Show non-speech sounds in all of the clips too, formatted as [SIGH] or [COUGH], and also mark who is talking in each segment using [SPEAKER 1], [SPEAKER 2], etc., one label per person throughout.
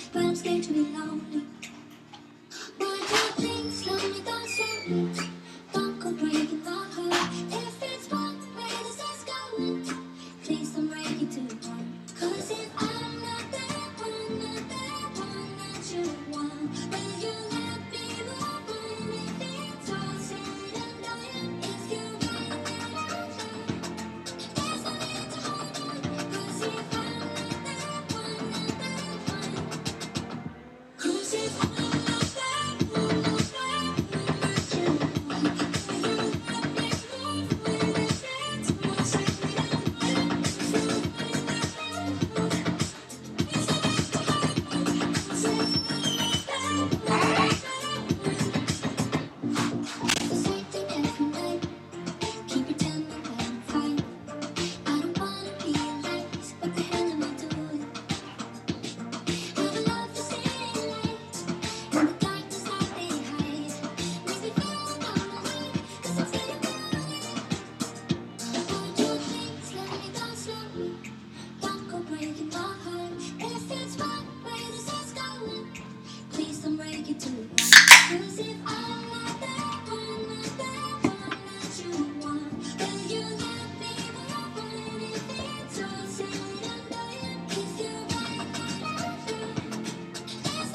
[SPEAKER 1] to be lonely. But your things slowly don't sleep. Don't go breaking my heart. If it's wrong, where does this going? Please don't break it too hard. Cause if I'm not that one, not that one that you want, will you let me move on if it's all said and done? If you want that love, there's no need to hold on. Cause if I'm not that one, not that one. Cause if I'm not that one, not What the hell am I doing? I would love to stay in light, and the darkness that they hide makes me feel like I'm alive, 'cause I'm still alive. Hold your hand, slowly, don't slowly, don't go breaking my heart. If it's wrong, where does this going? Please don't break it too hard. 'Cause if I'm not that one, not that one that you want, will you let me move on if it's all said and done? If you want that love.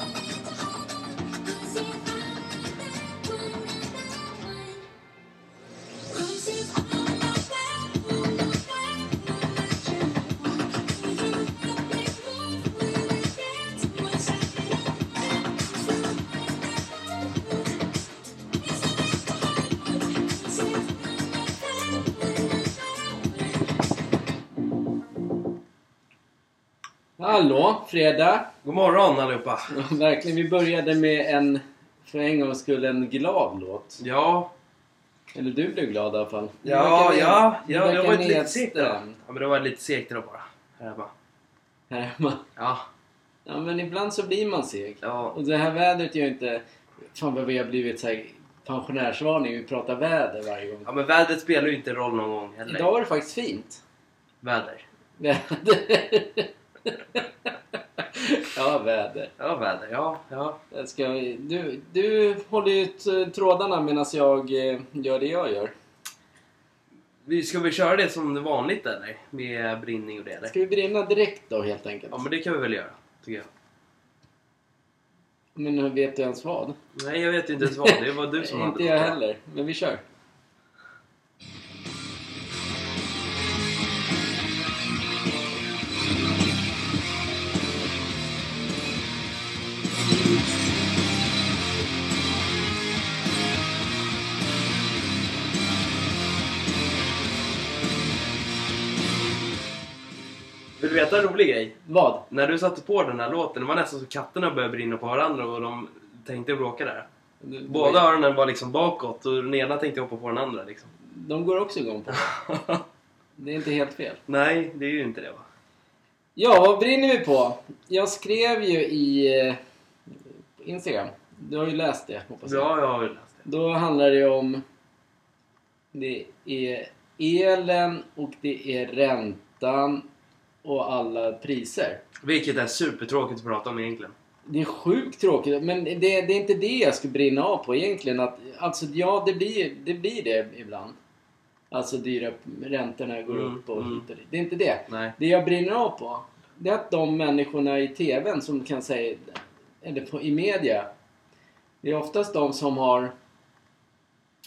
[SPEAKER 2] Hallå, fredag! [LAUGHS]
[SPEAKER 3] God morgon allihopa!
[SPEAKER 2] Ja, Verkligen, vi började med en, för en gångs skull, en glad låt.
[SPEAKER 3] Ja,
[SPEAKER 2] Eller du blev glad i alla fall. Du
[SPEAKER 3] ja,
[SPEAKER 2] verkar
[SPEAKER 3] ja,
[SPEAKER 2] ned-
[SPEAKER 3] ja
[SPEAKER 2] du
[SPEAKER 3] det
[SPEAKER 2] verkar
[SPEAKER 3] var ju lite segt idag.
[SPEAKER 2] nedstämd
[SPEAKER 3] Ja, men det var lite segt idag bara. Här hemma.
[SPEAKER 2] Här hemma.
[SPEAKER 3] Ja,
[SPEAKER 2] Ja, men ibland så blir man seg.
[SPEAKER 3] ja,
[SPEAKER 2] Och det här vädret gör inte... Fan vad vi har blivit så här pensionärsvarning. Vi pratar väder varje gång.
[SPEAKER 3] ja, men vädret spelar ju inte roll någon gång heller.
[SPEAKER 2] Idag var det faktiskt fint.
[SPEAKER 3] Väder.
[SPEAKER 2] Väder. [LAUGHS] ja, väder.
[SPEAKER 3] Ja, väder. Ja, ja.
[SPEAKER 2] Jag ska, du, du håller ju t- trådarna medan jag eh, gör det jag gör.
[SPEAKER 3] Vi, ska vi köra det som vanligt eller? Med brinning och det eller?
[SPEAKER 2] Ska vi brinna direkt då helt enkelt?
[SPEAKER 3] Ja, men det kan vi väl göra, tycker jag.
[SPEAKER 2] Men hur vet du ens vad?
[SPEAKER 3] Nej, jag vet ju inte ens vad. Det var du som hade
[SPEAKER 2] [LAUGHS] Inte jag
[SPEAKER 3] något.
[SPEAKER 2] heller, men vi kör.
[SPEAKER 3] Vill du veta en rolig grej?
[SPEAKER 2] Vad?
[SPEAKER 3] När du satte på den här låten, det var nästan så katterna började brinna på varandra och de tänkte bråka där.
[SPEAKER 2] Du-
[SPEAKER 3] Båda öronen var liksom bakåt och den ena tänkte hoppa på den andra liksom.
[SPEAKER 2] De går också igång på
[SPEAKER 3] [LAUGHS]
[SPEAKER 2] det. Det är inte helt fel.
[SPEAKER 3] Nej, det är ju inte det va?
[SPEAKER 2] Ja, vad brinner vi på? Jag skrev ju i eh, Instagram. Du har ju läst det, hoppas jag.
[SPEAKER 3] Ja, jag har ju läst det.
[SPEAKER 2] Då handlar det om... Det är elen och det är räntan och alla priser.
[SPEAKER 3] Vilket är supertråkigt att prata om egentligen.
[SPEAKER 2] Det är sjukt tråkigt, men det, det är inte det jag skulle brinna av på egentligen. Att, alltså, ja, det blir, det blir det ibland. Alltså dyra räntorna går
[SPEAKER 3] Mm,
[SPEAKER 2] upp och
[SPEAKER 3] mm.
[SPEAKER 2] hit och dit. Det är inte det.
[SPEAKER 3] Nej.
[SPEAKER 2] Det jag brinner av på, det är att de människorna i TVn som kan säga, eller på, i media, det är oftast de som har,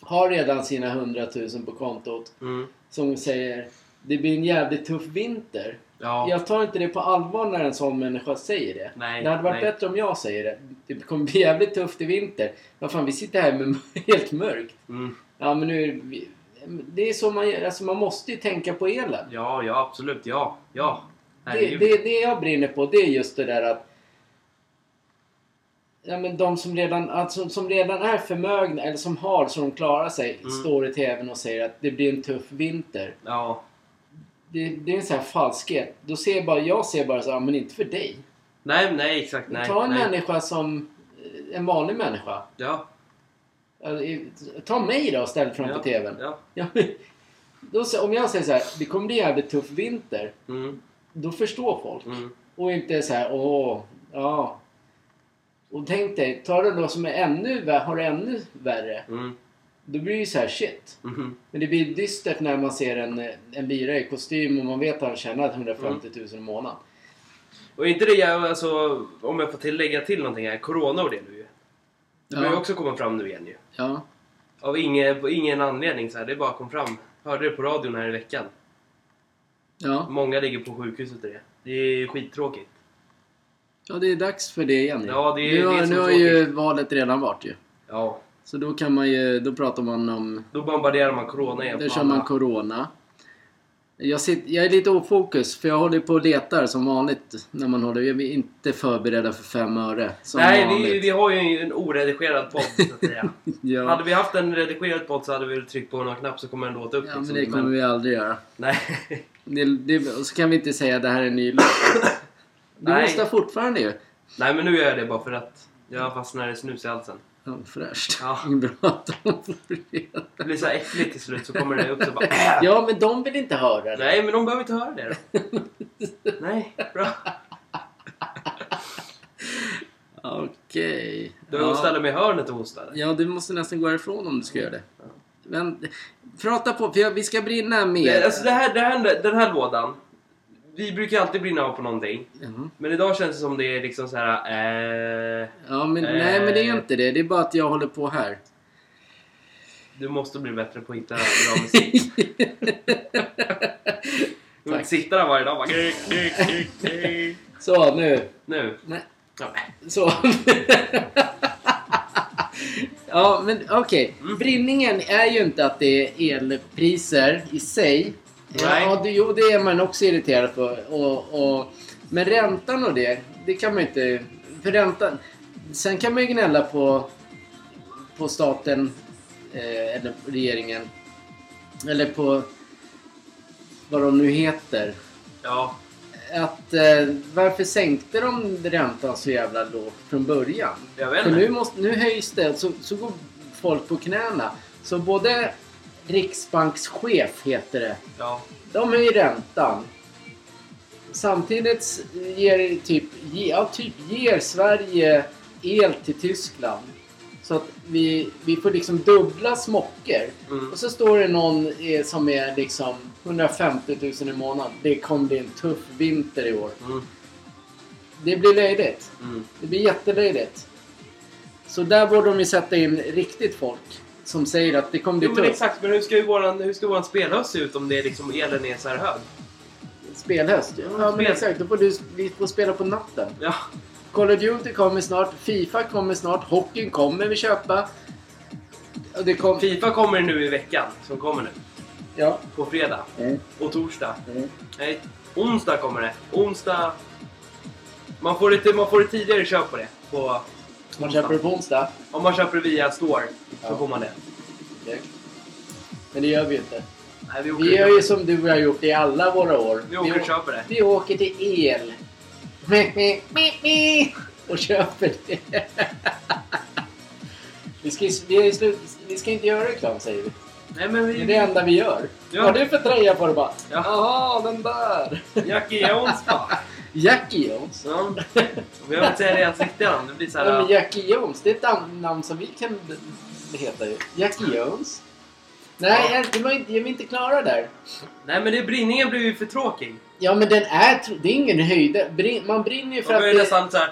[SPEAKER 2] har redan sina 100 000 på kontot
[SPEAKER 3] Mm.
[SPEAKER 2] som säger det blir en jävligt tuff vinter.
[SPEAKER 3] Ja.
[SPEAKER 2] Jag tar inte det på allvar när en sån människa säger det.
[SPEAKER 3] Nej,
[SPEAKER 2] det hade varit
[SPEAKER 3] nej.
[SPEAKER 2] bättre om jag säger det. Det kommer bli jävligt tufft i vinter. Vad fan, vi sitter här med [LAUGHS] helt mörkt.
[SPEAKER 3] Mm.
[SPEAKER 2] Ja, men nu... är det- vi- Det är så man gör. Alltså, man måste ju tänka på elen.
[SPEAKER 3] ja, ja, absolut. Ja, ja.
[SPEAKER 2] Det,
[SPEAKER 3] Herregud.
[SPEAKER 2] det, det jag brinner på, det är just det där att... Ja, men de som redan, alltså, som redan är förmögna, eller som har så de klarar sig,
[SPEAKER 3] Mm.
[SPEAKER 2] står i TVn och säger att det blir en tuff vinter.
[SPEAKER 3] Ja,
[SPEAKER 2] Det, det är en sån här falskhet. Då ser jag bara, jag ser bara så här, "Ja, men inte för dig.
[SPEAKER 3] nej, nej, exakt.
[SPEAKER 2] Men
[SPEAKER 3] Nej,
[SPEAKER 2] ta en
[SPEAKER 3] nej.
[SPEAKER 2] människa som... eh, En vanlig människa.
[SPEAKER 3] Ja,
[SPEAKER 2] Alltså, i- Ta mig då och ställ fram
[SPEAKER 3] ja,
[SPEAKER 2] på TVn.
[SPEAKER 3] Ja.
[SPEAKER 2] Ja, men- då, sä- om jag säger så här, det kommer bli jävligt tuff vinter.
[SPEAKER 3] Mm.
[SPEAKER 2] Då förstår folk.
[SPEAKER 3] Mm.
[SPEAKER 2] Och inte så här, åh, ja. Och tänk dig, tar du då som är ännu värre, har det ännu värre.
[SPEAKER 3] Mm.
[SPEAKER 2] Då blir det ju så här shit.
[SPEAKER 3] Mhm.
[SPEAKER 2] Men det blir dystert när man ser en, eh, en bira i kostym och man vet att han tjänar
[SPEAKER 3] Mm.
[SPEAKER 2] 150 000 i månaden.
[SPEAKER 3] Och inte det jag, alltså, om jag får tillägga till någonting här, corona och det nu ju. Det börjar
[SPEAKER 2] Ja.
[SPEAKER 3] ju också komma fram nu igen ju.
[SPEAKER 2] Ja.
[SPEAKER 3] Av ingen, ingen anledning så här, det bara kom fram. Hörde det på radion här i veckan.
[SPEAKER 2] Ja.
[SPEAKER 3] Många ligger på sjukhuset och det. Det är ju skittråkigt.
[SPEAKER 2] ja, det är dags för det igen. ju.
[SPEAKER 3] Ja, det är
[SPEAKER 2] nu
[SPEAKER 3] det
[SPEAKER 2] har,
[SPEAKER 3] som
[SPEAKER 2] nu
[SPEAKER 3] är
[SPEAKER 2] har ju valet redan varit ju.
[SPEAKER 3] Ja.
[SPEAKER 2] Så då kan man ju, då pratar man om,
[SPEAKER 3] Då bombarderar man corona igen
[SPEAKER 2] där
[SPEAKER 3] på
[SPEAKER 2] kör
[SPEAKER 3] alla.
[SPEAKER 2] man corona. Jag, sitter, jag är lite ofokus för jag håller på och letar som vanligt när man håller, vi är inte förberedda för fem öre. Som
[SPEAKER 3] Nej,
[SPEAKER 2] vanligt.
[SPEAKER 3] vi, vi har ju en oredigerad podd så att säga.
[SPEAKER 2] [LAUGHS] Ja,
[SPEAKER 3] Hade vi haft en redigerad podd så hade vi tryckt på någon knapp så kommer den låta upp.
[SPEAKER 2] ja men
[SPEAKER 3] liksom.
[SPEAKER 2] det kommer vi aldrig göra.
[SPEAKER 3] Nej. [LAUGHS]
[SPEAKER 2] Det, det, och så kan vi inte säga att det här är en ny låt. Du
[SPEAKER 3] Nej.
[SPEAKER 2] röstar fortfarande ju.
[SPEAKER 3] Nej, men nu gör jag det bara för att jag fastnar i snus i halsen.
[SPEAKER 2] Ja, fräscht. [LAUGHS]
[SPEAKER 3] Ja.
[SPEAKER 2] Bra att de får
[SPEAKER 3] [LAUGHS]
[SPEAKER 2] reda.
[SPEAKER 3] Det blir så här äckligt till slut så kommer det upp så bara...
[SPEAKER 2] [LAUGHS] Ja, men de vill inte höra det.
[SPEAKER 3] Nej, men de behöver inte höra det då. Nej, bra.
[SPEAKER 2] [LAUGHS] Okej.
[SPEAKER 3] Du
[SPEAKER 2] ja.
[SPEAKER 3] ställer mig i hörnet och hostar.
[SPEAKER 2] ja, du måste nästan gå härifrån om du ska göra det. Men prata på, för jag, vi ska brinna mer.
[SPEAKER 3] Det, alltså det här, det här, den här lådan. Vi brukar alltid brinna av på någonting.
[SPEAKER 2] Ja.
[SPEAKER 3] Men idag känns det som det är liksom så här. Eh,
[SPEAKER 2] Ja, men,
[SPEAKER 3] Eh.
[SPEAKER 2] Nej, men det är inte det. Det är bara att jag håller på
[SPEAKER 3] [LAUGHS]
[SPEAKER 2] här.
[SPEAKER 3] du måste bli bättre på att hitta bra musik. Du
[SPEAKER 2] Tack.
[SPEAKER 3] sitter där varje dag och bara...
[SPEAKER 2] Så, nu.
[SPEAKER 3] Nu.
[SPEAKER 2] Nej.
[SPEAKER 3] Ja.
[SPEAKER 2] Så. [LAUGHS] ja, men okej. Brinningen är ju inte att det är elpriser i sig.
[SPEAKER 3] Nej.
[SPEAKER 2] Ja, det, jo, det är man också irriterad på. Och, och, men räntan och det, det kan man ju inte... För räntan... Sen kan man ju gnälla på, på staten eh, eller på regeringen. Eller på vad de nu heter
[SPEAKER 3] Ja.
[SPEAKER 2] att eh, varför sänkte de räntan så jävla lågt från början?
[SPEAKER 3] Jag vet
[SPEAKER 2] För
[SPEAKER 3] inte.
[SPEAKER 2] nu, måste, nu höjs det, så, så går folk på knäna. Så både riksbankschef heter det,
[SPEAKER 3] Ja.
[SPEAKER 2] de höjer räntan. Samtidigt s- ger, typ, ge, ja, typ ger Sverige el till Tyskland. Så att vi, vi får liksom dubbla smockor.
[SPEAKER 3] Mm.
[SPEAKER 2] Och så står det någon eh, som är liksom 150 000 i månaden. Det kommer bli en tuff vinter i år.
[SPEAKER 3] Mm.
[SPEAKER 2] Det blir löjligt.
[SPEAKER 3] Mm.
[SPEAKER 2] Det blir jättelöjligt. Så där borde de ju sätta in riktigt folk som säger att det kommer bli
[SPEAKER 3] Jo men
[SPEAKER 2] tufft.
[SPEAKER 3] exakt, men hur ska ju våran, hur ska våran spelhöst se ut om det är liksom elen är så här hög?
[SPEAKER 2] Spelhöst. Ja, men
[SPEAKER 3] Spel.
[SPEAKER 2] exakt. Då får du vi får spela på natten.
[SPEAKER 3] Ja.
[SPEAKER 2] Call of Duty kommer snart. Fifa kommer snart. Hockeyn kommer vi köpa. Och det kom...
[SPEAKER 3] Fifa kommer nu i veckan som kommer nu.
[SPEAKER 2] Ja.
[SPEAKER 3] På fredag
[SPEAKER 2] Mm.
[SPEAKER 3] och torsdag.
[SPEAKER 2] Mm.
[SPEAKER 3] Nej, onsdag kommer det. Onsdag... Man får ett, man får ett tidigare köp på det. På
[SPEAKER 2] Man köper det på onsdag.
[SPEAKER 3] Om man köper det via Store så
[SPEAKER 2] Ja.
[SPEAKER 3] får man det.
[SPEAKER 2] Men det gör vi ju inte.
[SPEAKER 3] Nej, vi åker
[SPEAKER 2] Vi gör
[SPEAKER 3] och
[SPEAKER 2] ju som du och jag har gjort i alla våra år.
[SPEAKER 3] vi åker
[SPEAKER 2] vi,
[SPEAKER 3] och köper det.
[SPEAKER 2] vi åker till el. [LAUGHS] Och köper det. [LAUGHS] Vi ska, ju- vi, är ju slut, vi ska inte göra reklam säger vi.
[SPEAKER 3] Nej men
[SPEAKER 2] Det är
[SPEAKER 3] vi...
[SPEAKER 2] det enda vi gör.
[SPEAKER 3] Ja.
[SPEAKER 2] Vad har du för tröja på dig bara?
[SPEAKER 3] Ja.
[SPEAKER 2] Jaha, den där. [LAUGHS]
[SPEAKER 3] Jackie Jones va?
[SPEAKER 2] Jackie Jones.
[SPEAKER 3] Ja. Vi behöver inte säga det i ansiktet än. Det blir så
[SPEAKER 2] Ja, men
[SPEAKER 3] här...
[SPEAKER 2] Jackie Jones, det är ett an- namn som vi kan heta ju. Jackie Jones. Nej,
[SPEAKER 3] Ja.
[SPEAKER 2] jag, det var inte, jag är inte klara där.
[SPEAKER 3] Nej men det, brinningen blir ju för tråkig.
[SPEAKER 2] Ja men den är, tro- det är ingen höjd. Man brinner ju för
[SPEAKER 3] Man
[SPEAKER 2] att...
[SPEAKER 3] börjar
[SPEAKER 2] det-
[SPEAKER 3] nästan så här...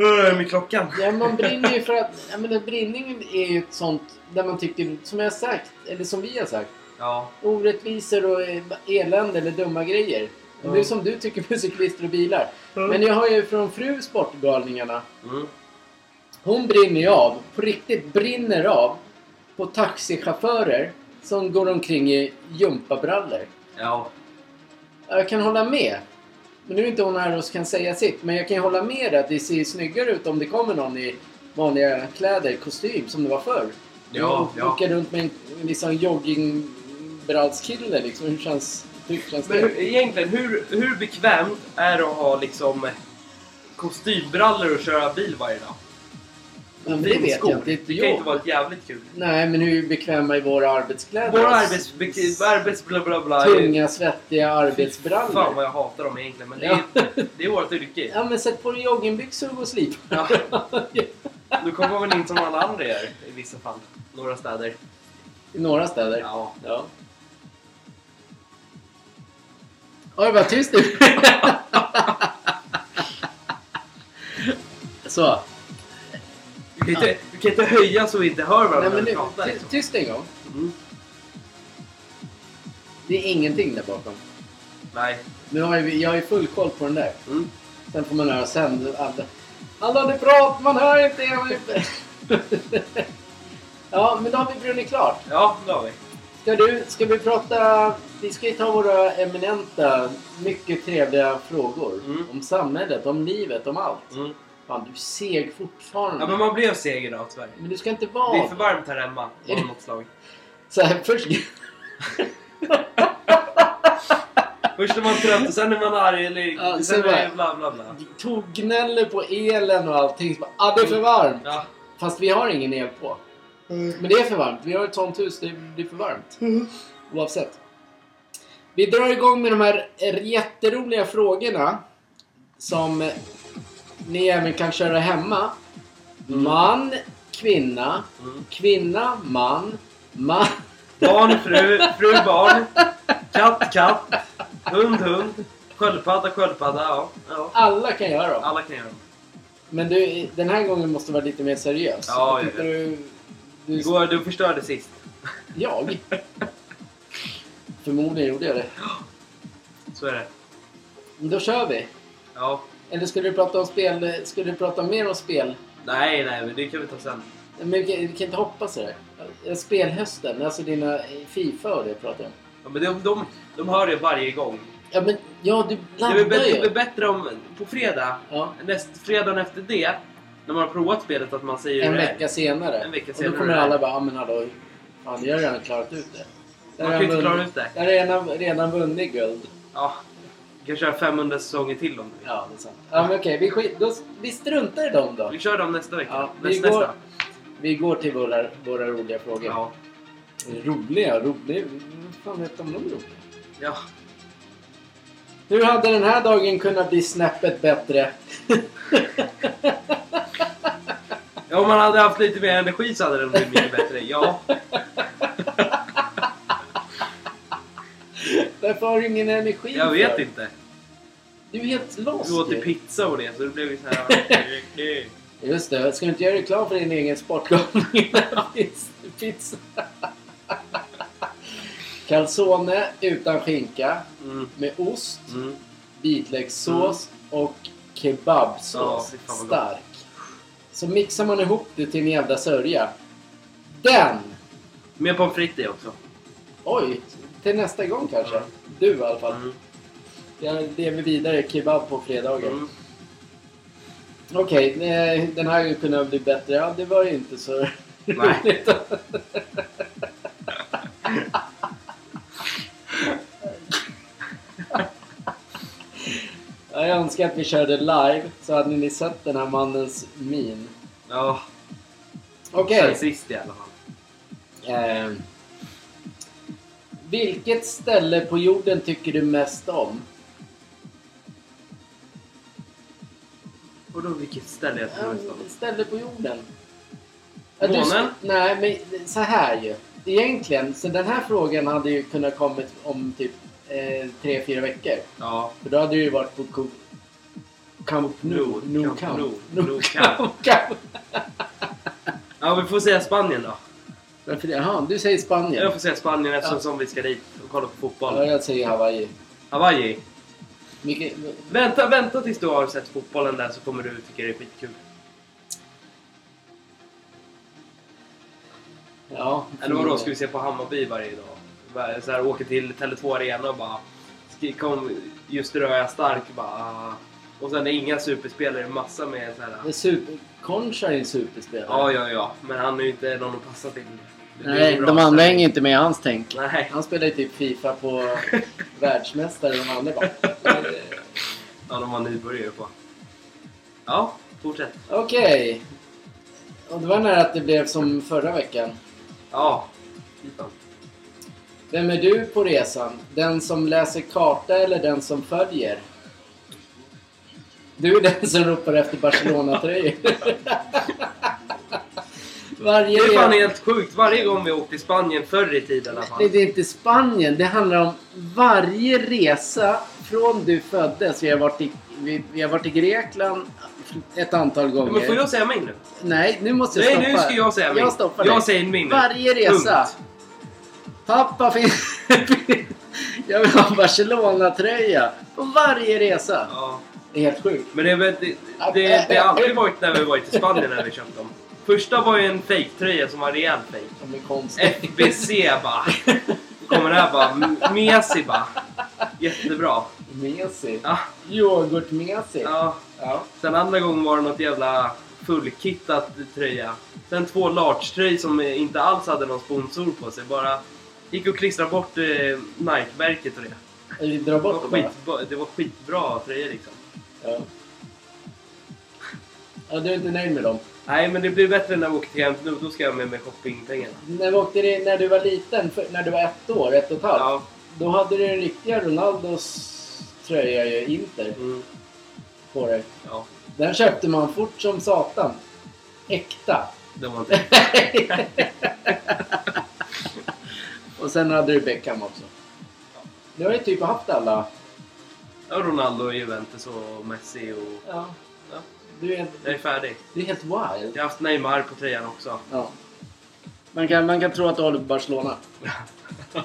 [SPEAKER 3] "Åh, Med klockan.
[SPEAKER 2] Ja, man brinner ju för att... Jag menar, brinningen är ju ett sånt där man tycker, som jag har sagt, eller som vi har sagt,
[SPEAKER 3] Ja.
[SPEAKER 2] orättvisor och eh, elände eller dumma grejer.
[SPEAKER 3] Ja.
[SPEAKER 2] Det är som du tycker med cyklister och bilar.
[SPEAKER 3] Mm.
[SPEAKER 2] Men jag har ju från fru Sportgalningarna,
[SPEAKER 3] Mm.
[SPEAKER 2] hon brinner ju av, på riktigt brinner av, på taxichaufförer som går omkring i jumpabrallor.
[SPEAKER 3] Ja.
[SPEAKER 2] Jag kan hålla med. Men nu är inte hon här och kan säga sitt. Men jag kan ju hålla med dig att det ser snyggare ut om det kommer någon i vanliga kläder, kostym, som det var förr.
[SPEAKER 3] Ja,
[SPEAKER 2] Och
[SPEAKER 3] ja.
[SPEAKER 2] Åka runt med en liksom, joggingbrallskille liksom. Hur känns, hur känns
[SPEAKER 3] Men
[SPEAKER 2] det?
[SPEAKER 3] hur, egentligen, hur, hur bekvämt är det att ha liksom kostymbrallor och köra bil varje dag?
[SPEAKER 2] men det vet
[SPEAKER 3] Vinskor.
[SPEAKER 2] jag inte. Inte
[SPEAKER 3] Det kan
[SPEAKER 2] jag.
[SPEAKER 3] inte vara ett jävligt kul.
[SPEAKER 2] Nej, men hur bekväma är våra arbetskläder?
[SPEAKER 3] Våra arbets... bek- arbets bla bla bla.
[SPEAKER 2] Alltså, Tunga, svettiga
[SPEAKER 3] Fan
[SPEAKER 2] arbetsbrallor.
[SPEAKER 3] vad jag hatar dem egentligen. Men det är,
[SPEAKER 2] Ja.
[SPEAKER 3] [LAUGHS] det är vårt yrke.
[SPEAKER 2] ja, men sätt på dig joggingbyxor och gå och slip.
[SPEAKER 3] Ja.
[SPEAKER 2] [LAUGHS]
[SPEAKER 3] Då kommer man väl in som alla andra gör i vissa fall. Några städer.
[SPEAKER 2] I några städer.
[SPEAKER 3] Ja.
[SPEAKER 2] Ja. Oj, vad tyst du [LAUGHS] Så.
[SPEAKER 3] Du kan inte, du kan inte höja så vi inte hör varandra
[SPEAKER 2] Nej,
[SPEAKER 3] när
[SPEAKER 2] men
[SPEAKER 3] vi
[SPEAKER 2] nu,
[SPEAKER 3] pratar.
[SPEAKER 2] ty-
[SPEAKER 3] Liksom.
[SPEAKER 2] tyst en gång.
[SPEAKER 3] Mm.
[SPEAKER 2] Det är ingenting där bakom.
[SPEAKER 3] Nej.
[SPEAKER 2] Nu har jag, jag har ju full koll på den där.
[SPEAKER 3] Mm.
[SPEAKER 2] Sen får man höra sen. Alla, alla det prat, man hör inte. Jag vill...
[SPEAKER 3] [LAUGHS]
[SPEAKER 2] ja, men då har vi brunnit klart.
[SPEAKER 3] Ja, det har vi.
[SPEAKER 2] Ska, du, ska vi prata... Vi ska ju ta våra eminenta, mycket trevliga frågor.
[SPEAKER 3] Mm.
[SPEAKER 2] Om samhället, om livet, om allt.
[SPEAKER 3] Mm.
[SPEAKER 2] Fan, du är seg fortfarande.
[SPEAKER 3] Ja, men man blev seg idag tyvärr.
[SPEAKER 2] Men du ska inte
[SPEAKER 3] Det är
[SPEAKER 2] vara...
[SPEAKER 3] för varmt här hemma av något slag.
[SPEAKER 2] Så här, först... [LAUGHS]
[SPEAKER 3] Först är man trött och sen är man arg eller
[SPEAKER 2] Ja,
[SPEAKER 3] sen
[SPEAKER 2] sen
[SPEAKER 3] är det
[SPEAKER 2] bara-
[SPEAKER 3] bla bla bla.
[SPEAKER 2] Tog gnäller på elen och allting. Så bara, ah, det är för varmt.
[SPEAKER 3] Ja.
[SPEAKER 2] Fast vi har ingen el på. Men det är för varmt. Vi har ett sånt hus. Det det är för varmt. Oavsett. Vi drar igång med de här jätteroliga frågorna. Som ni även kan köra hemma. Man, kvinna,
[SPEAKER 3] Mm.
[SPEAKER 2] kvinna, man, man,
[SPEAKER 3] Barn, fru, fru, barn. Katt, katt. Hund, hund. Sköldpadda, sköldpadda. Ja. ja.
[SPEAKER 2] alla kan göra dem.
[SPEAKER 3] Alla kan göra dem.
[SPEAKER 2] Men du, den här gången måste du vara lite mer seriös.
[SPEAKER 3] Ja,
[SPEAKER 2] jag tyckte
[SPEAKER 3] ja,
[SPEAKER 2] du, du
[SPEAKER 3] Igår, du förstörde sist. [LAUGHS]
[SPEAKER 2] Jag? Förmodligen gjorde jag det.
[SPEAKER 3] Så är det.
[SPEAKER 2] Men då kör vi.
[SPEAKER 3] Ja.
[SPEAKER 2] Eller skulle du prata om spel? Skulle du prata mer om spel?
[SPEAKER 3] Nej, nej, men det kan vi ta sen.
[SPEAKER 2] Men vi kan, vi kan inte hoppa sådär. Eh, Spelhösten, alltså dina Fifa och det pratar jag om.
[SPEAKER 3] Ja, men de, de, de hör det varje gång.
[SPEAKER 2] Ja, men ja, du
[SPEAKER 3] Det är väl
[SPEAKER 2] laddar
[SPEAKER 3] bättre, det är
[SPEAKER 2] ju.
[SPEAKER 3] bättre om på fredag,
[SPEAKER 2] Ja,
[SPEAKER 3] näst, fredagen efter det, när man har provat spelet, att man säger
[SPEAKER 2] en
[SPEAKER 3] hur det är.
[SPEAKER 2] vecka senare.
[SPEAKER 3] En vecka
[SPEAKER 2] Och
[SPEAKER 3] senare.
[SPEAKER 2] då kommer alla bara, ja men hallå, fan jag har redan klarat ut det. Jag
[SPEAKER 3] Man
[SPEAKER 2] har
[SPEAKER 3] kan ju
[SPEAKER 2] redan
[SPEAKER 3] inte klara
[SPEAKER 2] vunnit-
[SPEAKER 3] ut det.
[SPEAKER 2] Jag har redan, redan vunnit guld.
[SPEAKER 3] Ja. Du kan köra 500 säsonger till om du vill.
[SPEAKER 2] Ja, det är sant. Ja, men okej, vi, skit, då, vi struntar i dem då.
[SPEAKER 3] Vi kör dem nästa vecka.
[SPEAKER 2] Ja, vi
[SPEAKER 3] nästa,
[SPEAKER 2] går-
[SPEAKER 3] nästa.
[SPEAKER 2] Vi går till våra, våra roliga frågor.
[SPEAKER 3] Ja.
[SPEAKER 2] Roliga, roliga. Vad fan vet de om roliga?
[SPEAKER 3] ja.
[SPEAKER 2] Hur hade den här dagen kunnat bli snäppet bättre? [LAUGHS]
[SPEAKER 3] Ja, om man hade haft lite mer energi så hade den blivit mycket bättre. Ja.
[SPEAKER 2] Varför har du ingen energi?
[SPEAKER 3] Jag vet
[SPEAKER 2] för?
[SPEAKER 3] inte.
[SPEAKER 2] Du är helt lost
[SPEAKER 3] Vi åt ju
[SPEAKER 2] ju.
[SPEAKER 3] pizza och det, så det blev ju
[SPEAKER 2] [LAUGHS]
[SPEAKER 3] så här...
[SPEAKER 2] Just det, ska du inte göra reklam för din egen sportgalning? [LAUGHS] Pizza. [LAUGHS] Calzone utan skinka
[SPEAKER 3] Mm.
[SPEAKER 2] med ost,
[SPEAKER 3] Mm.
[SPEAKER 2] vitlökssås och kebabsås.
[SPEAKER 3] Ja, fy fan vad gott.
[SPEAKER 2] Stark. Så mixar man ihop det till en jävla sörja. Den!
[SPEAKER 3] Med pommes frites i också.
[SPEAKER 2] Oj! Till nästa gång kanske.
[SPEAKER 3] Ja.
[SPEAKER 2] Du i alla fall.
[SPEAKER 3] Mm.
[SPEAKER 2] Jag lever vidare kebab på fredagar.
[SPEAKER 3] Mm.
[SPEAKER 2] Okej, eh, den här kunde bli bättre. Ja, det var ju inte så
[SPEAKER 3] Nej.
[SPEAKER 2] [LAUGHS] roligt. Jag önskar att vi körde live så hade ni sett den här mannens min.
[SPEAKER 3] Ja.
[SPEAKER 2] Okej.
[SPEAKER 3] Sen sist i alla fall.
[SPEAKER 2] Eh, vilket ställe på jorden tycker du mest om?
[SPEAKER 3] Och då vilket ställe jag tror mest om?
[SPEAKER 2] Ja, ställe på jorden.
[SPEAKER 3] Månen?
[SPEAKER 2] sk- nej, men så här ju. Egentligen, så den här frågan hade ju kunnat kommit om typ eh, tre, fyra veckor.
[SPEAKER 3] Ja.
[SPEAKER 2] För då hade du ju varit på Camp Camp Nou.
[SPEAKER 3] No,
[SPEAKER 2] No
[SPEAKER 3] Camp
[SPEAKER 2] Camp.
[SPEAKER 3] Nou, No
[SPEAKER 2] No
[SPEAKER 3] Camp.
[SPEAKER 2] Camp. Camp.
[SPEAKER 3] Ja, vi får säga Spanien då.
[SPEAKER 2] Varför det? Jaha, du säger Spanien.
[SPEAKER 3] Jag får säga Spanien eftersom
[SPEAKER 2] Ja.
[SPEAKER 3] som vi ska dit och kolla på
[SPEAKER 2] Ja,
[SPEAKER 3] fotboll.
[SPEAKER 2] jag säger Hawaii.
[SPEAKER 3] Hawaii.
[SPEAKER 2] Mycket,
[SPEAKER 3] Vänta, vänta tills du har sett fotbollen där så kommer du tycka det är skitkul.
[SPEAKER 2] ja.
[SPEAKER 3] Eller vadå, ska vi se på Hammarby varje dag? Bara Så här, åka till Tele2 Arena och bara... skri- Kom, just idag är jag stark. Bara, ah. och sen är inga superspelare, massa med så här... ah,
[SPEAKER 2] Det är super, Concha är ju en superspelare.
[SPEAKER 3] Ja, ja, ja. Men han är ju inte någon att passa till. Det blir
[SPEAKER 2] Nej,
[SPEAKER 3] bra
[SPEAKER 2] de andra
[SPEAKER 3] stämning.
[SPEAKER 2] hänger inte med i hans tänk.
[SPEAKER 3] Nej.
[SPEAKER 2] Han spelar ju typ Fifa
[SPEAKER 3] [LAUGHS]
[SPEAKER 2] på världsmästare de andra bara... eh,
[SPEAKER 3] Ja, de var nybörjare på. Ja, fortsätt.
[SPEAKER 2] Okej. Och det var nära att det blev som förra veckan.
[SPEAKER 3] Ja, Titan.
[SPEAKER 2] Vem är du på resan? Den som läser karta eller den som följer? Du är den som ropar efter
[SPEAKER 3] [LAUGHS]
[SPEAKER 2] Barcelona-tröjor.
[SPEAKER 3] Det
[SPEAKER 2] Varje
[SPEAKER 3] är fan
[SPEAKER 2] resa...
[SPEAKER 3] helt sjukt. Varje gång vi åkte till Spanien förr i tiden i alla
[SPEAKER 2] Nej,
[SPEAKER 3] fall.
[SPEAKER 2] det är inte Spanien. Det handlar om varje resa från du föddes. Vi har varit i, vi, vi har varit i Grekland ett antal gånger.
[SPEAKER 3] Men får jag säga min nu?
[SPEAKER 2] Nej, nu måste jag
[SPEAKER 3] Nej,
[SPEAKER 2] stoppa.
[SPEAKER 3] nu ska jag säga min.
[SPEAKER 2] Jag stoppar
[SPEAKER 3] Jag
[SPEAKER 2] dig.
[SPEAKER 3] säger min nu.
[SPEAKER 2] Varje resa.
[SPEAKER 3] Punkt.
[SPEAKER 2] Pappa finns... [LAUGHS] jag vill ha en Barcelona-tröja. På varje resa.
[SPEAKER 3] Ja.
[SPEAKER 2] Det är helt sjukt.
[SPEAKER 3] Men det, är väl- det, det, det har alltid varit när vi varit i Spanien när vi köpt dem. Första var ju en fake-tröja som var rejäl fake.
[SPEAKER 2] De är konstiga.
[SPEAKER 3] Eh. FBC bara. Kommer här bara. Messi bara. Jättebra.
[SPEAKER 2] Messi.
[SPEAKER 3] Ja,
[SPEAKER 2] Yoghurt-Messi.
[SPEAKER 3] ja.
[SPEAKER 2] Ja.
[SPEAKER 3] Sen andra gången var det något jävla fullkittat tröja. Sen två large-tröjor som inte alls hade någon sponsor på sig. Bara gick och klistrade bort eh, Nike-märket och det.
[SPEAKER 2] Vi drar
[SPEAKER 3] Det
[SPEAKER 2] bort
[SPEAKER 3] var,
[SPEAKER 2] det bara.
[SPEAKER 3] skit, det var skitbra tröjor liksom.
[SPEAKER 2] Ja. ja. Du är inte nöjd med dem? Nej.
[SPEAKER 3] Nej, men det blir bättre när vi åker till hämt nu. Då ska jag med mig shoppingpengarna.
[SPEAKER 2] När, vi åkte det, när du var liten, för, när du var ett år, ett och ett halvt.
[SPEAKER 3] Ja.
[SPEAKER 2] Då hade du den riktiga Ronaldos tröja ju, Inter,
[SPEAKER 3] Mm,
[SPEAKER 2] på dig.
[SPEAKER 3] ja.
[SPEAKER 2] Den köpte man fort som satan. Äkta. [LAUGHS]
[SPEAKER 3] Det var inte...
[SPEAKER 2] och sen hade du Beckham också. Du har ju typ haft alla.
[SPEAKER 3] Ja, Ronaldo och Juventus och Messi och...
[SPEAKER 2] Ja.
[SPEAKER 3] Ja,
[SPEAKER 2] Du är,
[SPEAKER 3] jag är färdig.
[SPEAKER 2] du är helt wild.
[SPEAKER 3] Jag har haft Neymar på tröjan också.
[SPEAKER 2] Ja. Man, kan, man kan tro att du håller på Barcelona. [LAUGHS]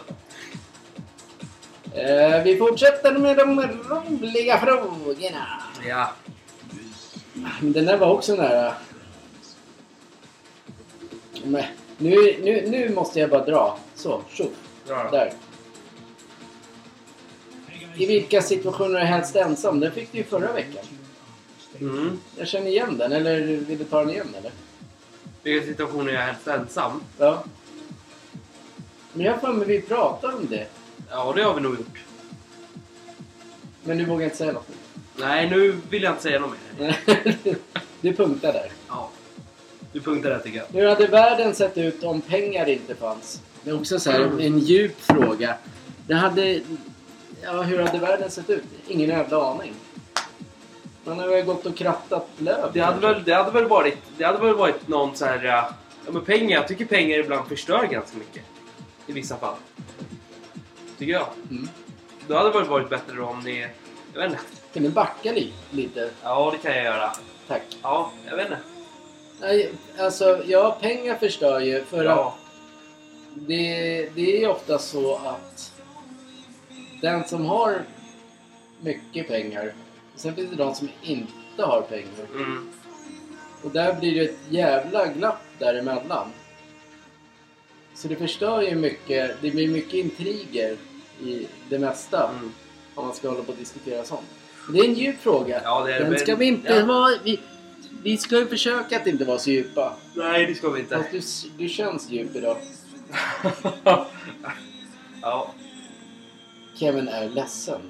[SPEAKER 2] eh, vi fortsätter med de roliga frågorna.
[SPEAKER 3] Ja.
[SPEAKER 2] Den där var också nära. Men, nu, nu, nu måste jag bara dra. Så, tjoff.
[SPEAKER 3] Bra då.
[SPEAKER 2] Där. I vilka situationer är helst ensam? Den fick du ju förra veckan.
[SPEAKER 3] Mm.
[SPEAKER 2] Jag känner igen den, eller vill du ta den igen eller?
[SPEAKER 3] Vilken situation är jag helst ensam?
[SPEAKER 2] Ja. Men jag har för mig vi pratade om det.
[SPEAKER 3] Ja, det har vi nog gjort.
[SPEAKER 2] Men du vågar inte säga något. [LAUGHS]
[SPEAKER 3] Nej, nu vill jag inte säga något mer.
[SPEAKER 2] du punktar där.
[SPEAKER 3] Ja. Du punktar det tycker jag.
[SPEAKER 2] Hur hade världen sett ut om pengar inte fanns? Det är också så här, en djup fråga. Det hade... Ja, hur hade världen sett ut? Ingen jävla aning. Man har väl gått och krattat löv.
[SPEAKER 3] Det hade väl, det hade väl, varit, det hade väl varit någon så här... äh, Ja, men pengar. Jag tycker pengar ibland förstör ganska mycket. I vissa fall. Tycker jag.
[SPEAKER 2] Mm.
[SPEAKER 3] Då hade det väl varit bättre om ni... Jag vet inte.
[SPEAKER 2] Kan du backa li- lite?
[SPEAKER 3] Ja, det kan jag göra.
[SPEAKER 2] Tack.
[SPEAKER 3] Ja, jag vet inte.
[SPEAKER 2] Nej, alltså, ja, pengar förstör ju. För att
[SPEAKER 3] Ja.
[SPEAKER 2] det, det är ju ofta så att den som har mycket pengar, sen finns det de som inte har pengar.
[SPEAKER 3] Mm.
[SPEAKER 2] Och där blir det ett jävla glapp däremellan. Så det förstör ju mycket. Det blir mycket intriger i det mesta
[SPEAKER 3] Mm.
[SPEAKER 2] om man ska hålla på och diskutera sånt. Det är en djup fråga.
[SPEAKER 3] Ja, det är det.
[SPEAKER 2] Den
[SPEAKER 3] Men-
[SPEAKER 2] ska vi inte
[SPEAKER 3] ja.
[SPEAKER 2] vara... Vi, vi ska ju försöka att inte vara så djupa.
[SPEAKER 3] Nej, det ska vi inte.
[SPEAKER 2] Fast [LAUGHS] du, du känns djup idag.
[SPEAKER 3] ja.
[SPEAKER 2] Kevin är ledsen.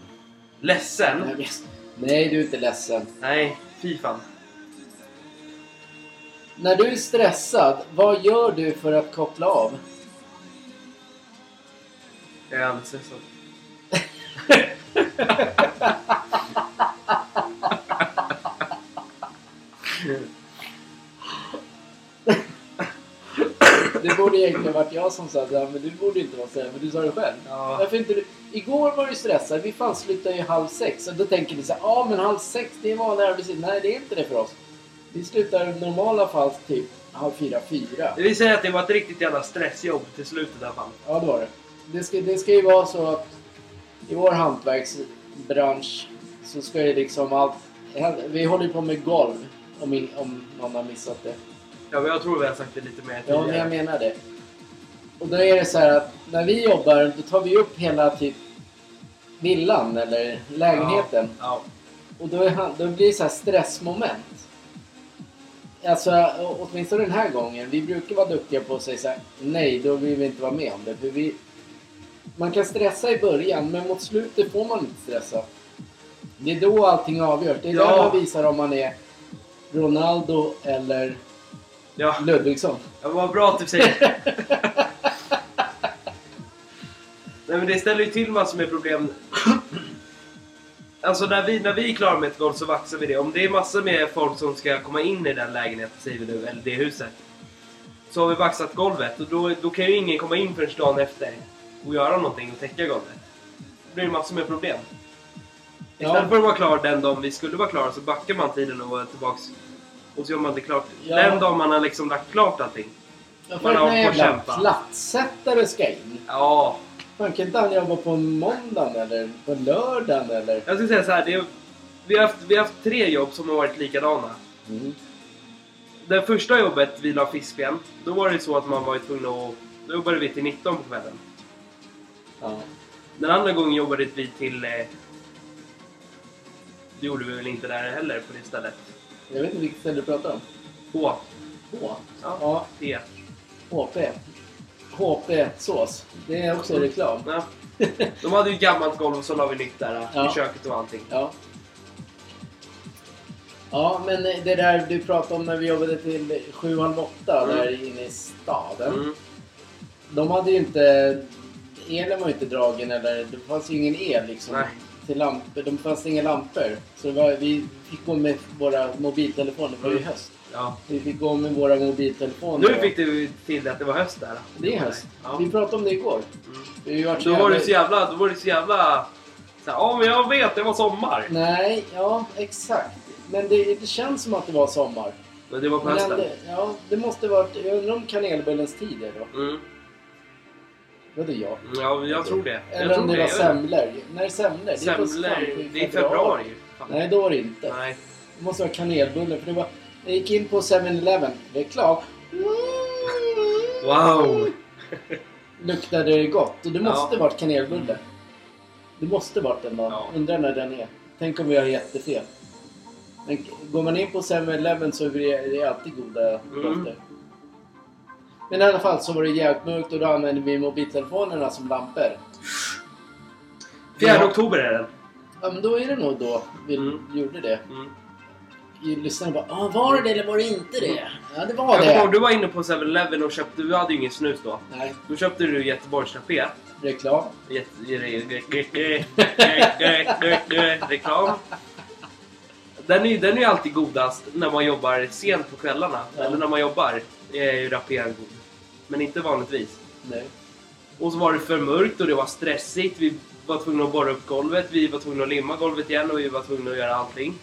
[SPEAKER 3] Ledsen?
[SPEAKER 2] Nej, du är inte ledsen.
[SPEAKER 3] Nej, fy fan.
[SPEAKER 2] När du är stressad, vad gör du för att koppla av?
[SPEAKER 3] Jag är alldeles stressad.
[SPEAKER 2] Det borde egentligen varit jag som sa det, här, men du borde inte vara stressad. Men du sa det själv.
[SPEAKER 3] Ja.
[SPEAKER 2] Varför inte du? Igår var du stressad. Vi fan slutade ju halv sex. Och då tänker ni så här, ja ah, men halv sex det är vanlig arbetstid. Nej, det är inte det för oss. Vi slutar i normala fall typ halv fyra, fyra.
[SPEAKER 3] Det vill säga att det var ett riktigt jävla stressjobb till slutet i alla fall.
[SPEAKER 2] Ja, det var det. Det ska, det ska ju vara så att i vår hantverksbransch så ska ju liksom allt... Vi håller ju på med golv, om, in- om någon har missat det.
[SPEAKER 3] Ja, men jag tror vi har sagt det lite mer
[SPEAKER 2] Ja, men
[SPEAKER 3] tidigare.
[SPEAKER 2] jag menar det. Och då är det så här att när vi jobbar, då tar vi upp hela typ villan eller lägenheten.
[SPEAKER 3] Ja.
[SPEAKER 2] Och då, är han, då blir det så här stressmoment. Alltså, å- åtminstone den här gången. Vi brukar vara duktiga på att säga så här, nej, då vill vi inte vara med om det. För vi, man kan stressa i början, men mot slutet får man inte stressa. Det är då allting avgörs. Det är
[SPEAKER 3] Ja.
[SPEAKER 2] där man visar om man är Ronaldo eller
[SPEAKER 3] Ja,
[SPEAKER 2] Ludvigsson.
[SPEAKER 3] ja, vad bra att du säger
[SPEAKER 2] [LAUGHS]
[SPEAKER 3] det. Nej, men det ställer ju till massor med problem. Alltså när vi, när vi är klara med ett golv så vaxar vi det. Om det är massor med folk som ska komma in i den lägenheten, säger vi nu, eller det huset. Så har vi vaxat golvet och då, då kan ju ingen komma in förrän dagen efter och göra någonting och täcka golvet. Det blir massor med problem.
[SPEAKER 2] Ja.
[SPEAKER 3] Istället för att vara klar den dagen vi skulle vara klara så backar man tiden och är tillbaks och så gör man det klart.
[SPEAKER 2] Ja.
[SPEAKER 3] Den dagen man har liksom lagt klart allting.
[SPEAKER 2] Jag får
[SPEAKER 3] Man har
[SPEAKER 2] en
[SPEAKER 3] hållit på att
[SPEAKER 2] jävla
[SPEAKER 3] kämpa.
[SPEAKER 2] plattsättare ska in.
[SPEAKER 3] Ja,
[SPEAKER 2] Man kan inte han jobba på måndagen eller på lördagen eller...
[SPEAKER 3] jag skulle säga så här. Det är, vi, har haft, vi har haft tre jobb som har varit likadana.
[SPEAKER 2] Mm.
[SPEAKER 3] Det första jobbet vi la fiskben, då var det så att man var tvungen att... Då jobbade vi till 19 på kvällen.
[SPEAKER 2] Ja.
[SPEAKER 3] Den andra gången jobbade vi till... Eh, det gjorde vi väl inte där heller på det stället.
[SPEAKER 2] Jag vet inte vilket ställe du pratar om.
[SPEAKER 3] H.
[SPEAKER 2] H.
[SPEAKER 3] Ja.
[SPEAKER 2] Ja,
[SPEAKER 3] T.
[SPEAKER 2] HP. HP-sås. Det är också reklam. [LAUGHS]
[SPEAKER 3] Ja. De hade ju gammalt golv och så la vi nytt där eh,
[SPEAKER 2] Ja.
[SPEAKER 3] i köket och allting.
[SPEAKER 2] Ja. Ja, men det där du pratade om när vi jobbade till sju, halv åtta
[SPEAKER 3] Mm.
[SPEAKER 2] där inne i staden.
[SPEAKER 3] Mm.
[SPEAKER 2] De hade ju inte... Elen var ju inte dragen eller... Det fanns ju ingen el liksom.
[SPEAKER 3] Nej.
[SPEAKER 2] Till lampor. De fanns inga lampor. Så det var, vi fick gå med våra mobiltelefoner. Det var ju
[SPEAKER 3] Mm.
[SPEAKER 2] höst.
[SPEAKER 3] Ja.
[SPEAKER 2] Vi fick gå med våra mobiltelefoner.
[SPEAKER 3] Nu fick du till det att det var höst där.
[SPEAKER 2] Det är höst.
[SPEAKER 3] Ja.
[SPEAKER 2] Vi pratade om det igår.
[SPEAKER 3] Mm.
[SPEAKER 2] Det har ju varit så
[SPEAKER 3] Då var
[SPEAKER 2] jävla-
[SPEAKER 3] du så jävla... Då var du så jävla... Så här, ja men jag vet, det var sommar.
[SPEAKER 2] Nej, ja exakt. Men det, det känns som att det var sommar.
[SPEAKER 3] Men det var på
[SPEAKER 2] Men
[SPEAKER 3] hösten.
[SPEAKER 2] det, ja, det måste varit... Jag undrar om kanelbullens tid är då.
[SPEAKER 3] Mm.
[SPEAKER 2] Vadå jag?
[SPEAKER 3] Ja, men jag tror det. jag
[SPEAKER 2] Eller
[SPEAKER 3] tror
[SPEAKER 2] om det var
[SPEAKER 3] Jag vet.
[SPEAKER 2] semlor. När är semlor? Det är på-
[SPEAKER 3] Semlor,
[SPEAKER 2] fan,
[SPEAKER 3] det är i februari ju. Fan.
[SPEAKER 2] Nej, då var det inte.
[SPEAKER 3] Nej.
[SPEAKER 2] Det måste vara kanelbulle för det var... Jag gick in på 7-Eleven,
[SPEAKER 3] [LAUGHS]
[SPEAKER 2] reklam.
[SPEAKER 3] Wow!
[SPEAKER 2] Luktade det gott och det måste
[SPEAKER 3] Ja.
[SPEAKER 2] varit kanelbulle. Det måste varit den dagen.
[SPEAKER 3] Ja.
[SPEAKER 2] Undrar när den är. Tänk om vi har jättefel. Men går man in på 7-Eleven så är det det är alltid goda
[SPEAKER 3] Mm.
[SPEAKER 2] dofter. Men i alla fall så var det jävligt mörkt och då använde vi mobiltelefonerna som lampor.
[SPEAKER 3] 4
[SPEAKER 2] Ja.
[SPEAKER 3] oktober är den.
[SPEAKER 2] Ja men då är det nog då vi
[SPEAKER 3] Mm.
[SPEAKER 2] gjorde det.
[SPEAKER 3] Mm.
[SPEAKER 2] Lyssnarna bara ah, “Var det det eller var det inte det?” Ja det var
[SPEAKER 3] Mm. Jag kommer ihåg,
[SPEAKER 2] det.
[SPEAKER 3] du var inne på 7-Eleven och köpte, du hade ju ingen snus då.
[SPEAKER 2] Nej,
[SPEAKER 3] Då köpte du Göteborgskafé.
[SPEAKER 2] reklam.
[SPEAKER 3] Reklam. Den är, ju- den är ju alltid godast när man jobbar sent på kvällarna.
[SPEAKER 2] Ja.
[SPEAKER 3] Eller när man jobbar är ju rapé god. Men inte vanligtvis.
[SPEAKER 2] Nej.
[SPEAKER 3] Och så var det för mörkt och det var stressigt. Vi var tvungna att borra upp golvet, vi var tvungna att limma golvet igen och vi var tvungna att göra allting.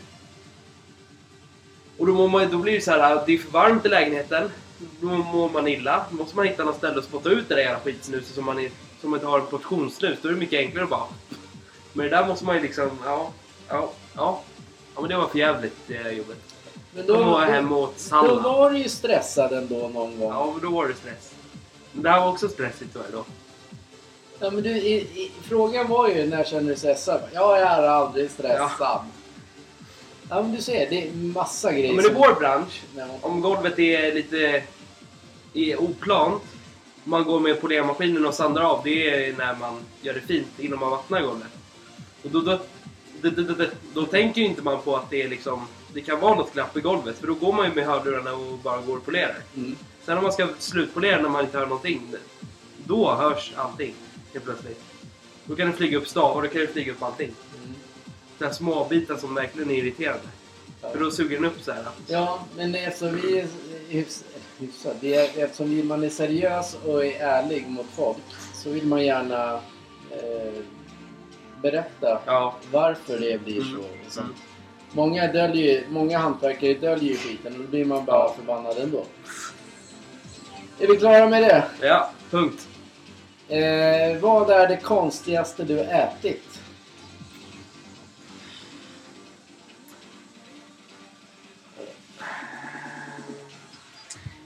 [SPEAKER 3] Och då, mår man, då blir det så här, att det är för varmt i lägenheten. Då mår man illa. Då måste man hitta något ställe att spotta ut det där jävla skitsnuset som man, är, som man inte har en portionssnus. Då är det mycket enklare att bara... Men det där måste man ju liksom... Ja, ja, ja. Ja men det var för jävligt det jobbet.
[SPEAKER 2] Men
[SPEAKER 3] Då var jag
[SPEAKER 2] då,
[SPEAKER 3] hem åt
[SPEAKER 2] då
[SPEAKER 3] Sanna.
[SPEAKER 2] var du ju stressad ändå någon gång. Ja.
[SPEAKER 3] Ja men då var det stress. Men det här var också stressigt var det då.
[SPEAKER 2] men du, i, i, frågan var ju när känner du stressad? Ja, jag är aldrig stressad. Ja, men du ser, det är massa grejer.
[SPEAKER 3] Ja, men i
[SPEAKER 2] som-
[SPEAKER 3] vår bransch
[SPEAKER 2] Ja.
[SPEAKER 3] om golvet är lite är oplant, man går med polermaskinen och sandar av, det är när man gör det fint innan man vattnar golvet. Och då, då, då, då, då, då tänker ju inte man på att det är liksom, det kan vara något glapp i golvet, för då går man ju med hörlurarna och bara går och polerar.
[SPEAKER 2] Mm.
[SPEAKER 3] Sen om man ska slutpolera när man inte hör någonting, då hörs allting helt plötsligt. Då kan det flyga upp stavar, då kan det flyga upp allting.
[SPEAKER 2] Mm.
[SPEAKER 3] Den här små bitar som verkligen är irriterande. För då suger den upp så här.
[SPEAKER 2] Ja, men eftersom vi är hyfs- hyfsat, vi är, eftersom vi- man är seriös och är ärlig mot folk så vill man gärna eh, berätta
[SPEAKER 3] Ja.
[SPEAKER 2] varför det blir så.
[SPEAKER 3] Mm.
[SPEAKER 2] och sånt. Många, döljer, ju- många hantverkare döljer ju skiten och då blir man bara förbannad ändå. Är vi klara med det?
[SPEAKER 3] Ja, punkt.
[SPEAKER 2] Eh, vad är det konstigaste du ätit?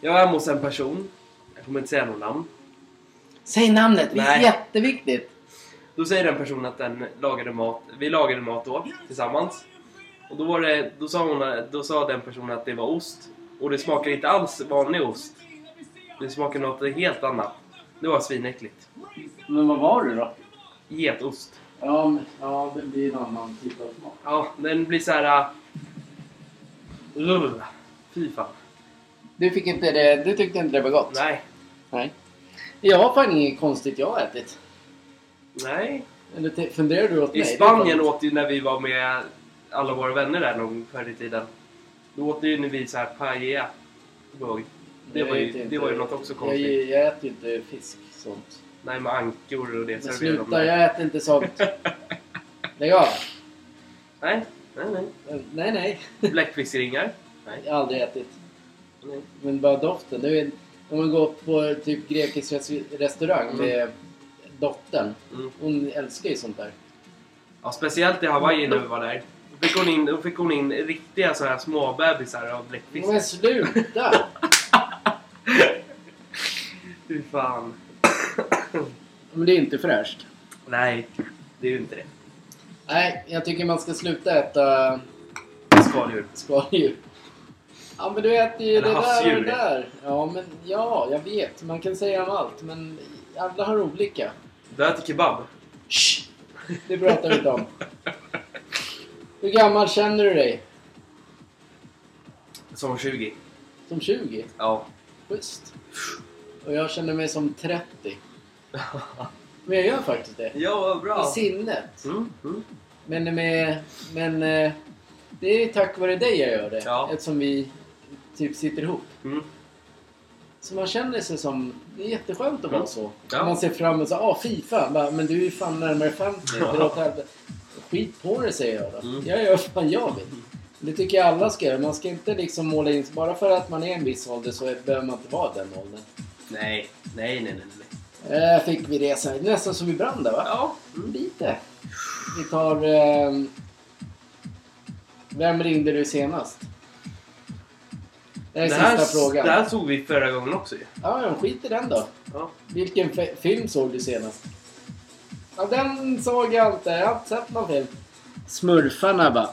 [SPEAKER 3] Jag är hemma hos en person. Jag kommer inte säga något namn.
[SPEAKER 2] Säg namnet, det är
[SPEAKER 3] Nej.
[SPEAKER 2] jätteviktigt!
[SPEAKER 3] Då säger den personen att den lagade mat. Vi lagade mat då, tillsammans. Och då, var det, då, sa hon, då sa den personen att det var ost. Och det smakar inte alls vanlig ost. Det smakar något helt annat. Det var svinäckligt.
[SPEAKER 2] Men vad var det då?
[SPEAKER 3] Getost.
[SPEAKER 2] Ja, men- ja det blir en annan typ av smak.
[SPEAKER 3] Ja, den blir så här... Uh, fy äh, fan.
[SPEAKER 2] Du, fick inte det, du tyckte inte det var gott?
[SPEAKER 3] Nej.
[SPEAKER 2] Nej. Jag har fan inget konstigt jag har ätit.
[SPEAKER 3] Nej.
[SPEAKER 2] Eller te- funderar du åt mig?
[SPEAKER 3] I
[SPEAKER 2] Det är
[SPEAKER 3] Spanien
[SPEAKER 2] fan-
[SPEAKER 3] åt ju när vi var med alla våra vänner där någon förr i tiden. Då åt ju när vi så här paella. Kommer jag ihåg. Det
[SPEAKER 2] Jag
[SPEAKER 3] var ju-
[SPEAKER 2] äter
[SPEAKER 3] det
[SPEAKER 2] inte-
[SPEAKER 3] var ju något också
[SPEAKER 2] Jag,
[SPEAKER 3] konstigt.
[SPEAKER 2] jag äter ju inte fisk sånt.
[SPEAKER 3] Nej, med ankor och det
[SPEAKER 2] Men
[SPEAKER 3] serverade de
[SPEAKER 2] sluta,
[SPEAKER 3] där.
[SPEAKER 2] jag äter inte
[SPEAKER 3] [LAUGHS]
[SPEAKER 2] sånt. Lägg av.
[SPEAKER 3] Nej, nej, nej.
[SPEAKER 2] Nej, nej.
[SPEAKER 3] Bläckfiskringar?
[SPEAKER 2] Jag har aldrig ätit.
[SPEAKER 3] Nej.
[SPEAKER 2] Men bara doften. Det är, om man går på typ grekisk res- restaurang
[SPEAKER 3] Mm.
[SPEAKER 2] med dottern.
[SPEAKER 3] Mm.
[SPEAKER 2] Hon älskar ju sånt där.
[SPEAKER 3] Ja, speciellt i Hawaii när vi var där. Då fick hon in, då fick hon in riktiga så här småbebisar av bläckfisk.
[SPEAKER 2] Men
[SPEAKER 3] [LAUGHS]
[SPEAKER 2] sluta!
[SPEAKER 3] Fy fan.
[SPEAKER 2] Men det är inte fräscht.
[SPEAKER 3] Nej, det är ju inte det.
[SPEAKER 2] Nej, jag tycker man ska sluta äta
[SPEAKER 3] Skaldjur.
[SPEAKER 2] skaldjur. Ja men du äter ju
[SPEAKER 3] Eller
[SPEAKER 2] det där och
[SPEAKER 3] havsdjur.
[SPEAKER 2] det där. Ja men ja, jag vet. Man kan säga om allt men alla har olika.
[SPEAKER 3] Du äter kebab?
[SPEAKER 2] Shh! Det pratar vi inte om. Hur gammal känner du dig?
[SPEAKER 3] Som 20.
[SPEAKER 2] Som 20?
[SPEAKER 3] Ja.
[SPEAKER 2] Schysst. Och jag känner mig som 30. Men jag gör faktiskt det.
[SPEAKER 3] Ja, vad
[SPEAKER 2] I
[SPEAKER 3] bra.
[SPEAKER 2] sinnet.
[SPEAKER 3] Mm, mm.
[SPEAKER 2] Men, med, men eh, det är tack vare dig jag gör det.
[SPEAKER 3] Ja.
[SPEAKER 2] Eftersom vi typ sitter ihop.
[SPEAKER 3] Mm.
[SPEAKER 2] Så man känner sig som... Det är jätteskönt att
[SPEAKER 3] Mm.
[SPEAKER 2] vara så.
[SPEAKER 3] Ja.
[SPEAKER 2] Man ser fram emot så ah Fifa. Bara, men du är ju fan närmare 50.
[SPEAKER 3] Ja.
[SPEAKER 2] Det låter helt- Skit på det säger jag då.
[SPEAKER 3] Mm.
[SPEAKER 2] Jag gör vad fan jag vill. Det tycker jag alla ska göra. Man ska inte liksom måla in... Bara för att man är en viss ålder så behöver man inte vara den åldern.
[SPEAKER 3] Nej, nej, nej, nej. nej.
[SPEAKER 2] Eh, fick vi det sen. Nästan som vi brann där va?
[SPEAKER 3] Ja. Mm.
[SPEAKER 2] Lite. Vi tar... ehm, Vem ringde du senast? Det här är
[SPEAKER 3] Det
[SPEAKER 2] sista
[SPEAKER 3] här,
[SPEAKER 2] frågan.
[SPEAKER 3] det här såg vi förra gången också ju.
[SPEAKER 2] Ja, men skit i den då.
[SPEAKER 3] Ja.
[SPEAKER 2] Vilken fe- film såg du senast? Ja, den såg jag inte. Jag har inte sett någon film. Smurfarna bara.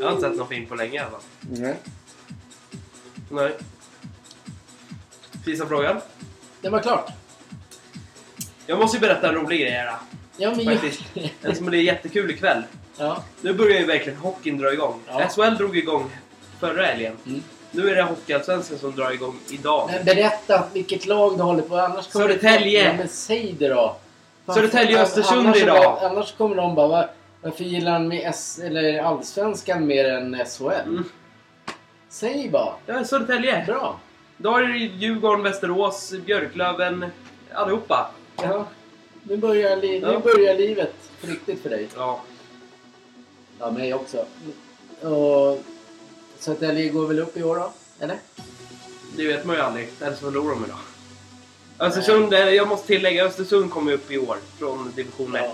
[SPEAKER 3] Jag har inte sett någon film på länge i alla fall.
[SPEAKER 2] Nej.
[SPEAKER 3] Nej. Sista frågan.
[SPEAKER 2] Det var klart.
[SPEAKER 3] Jag måste ju berätta en rolig grej här.
[SPEAKER 2] Ja, men...
[SPEAKER 3] Faktiskt. En som är jättekul ikväll.
[SPEAKER 2] ja.
[SPEAKER 3] Nu börjar ju verkligen hockeyn dra igång.
[SPEAKER 2] Ja.
[SPEAKER 3] SHL drog igång förra helgen.
[SPEAKER 2] Mm.
[SPEAKER 3] Nu är det Hockeyallsvenskan som drar igång idag.
[SPEAKER 2] Men berätta vilket lag du håller på. Annars kommer
[SPEAKER 3] Södertälje.
[SPEAKER 2] Ja, men säg det då.
[SPEAKER 3] Södertälje och Östersund
[SPEAKER 2] annars,
[SPEAKER 3] idag.
[SPEAKER 2] Annars kommer de bara... "Va- Varför gillar han med S, eller allsvenskan mer än SHL?
[SPEAKER 3] Mm.
[SPEAKER 2] Säg bara.
[SPEAKER 3] Ja, Södertälje.
[SPEAKER 2] Bra.
[SPEAKER 3] Då är det Djurgården, Västerås, Björklöven, allihopa.
[SPEAKER 2] Ja. Nu, börjar li,
[SPEAKER 3] Ja.
[SPEAKER 2] nu börjar livet på riktigt för dig.
[SPEAKER 3] Ja.
[SPEAKER 2] Ja, mig också. Och, så att Södertälje går väl upp i år då? Eller?
[SPEAKER 3] Det vet man ju aldrig. Eller så förlorar de idag. Östersund, eh, jag måste tillägga, Östersund kommer upp i år från division 1.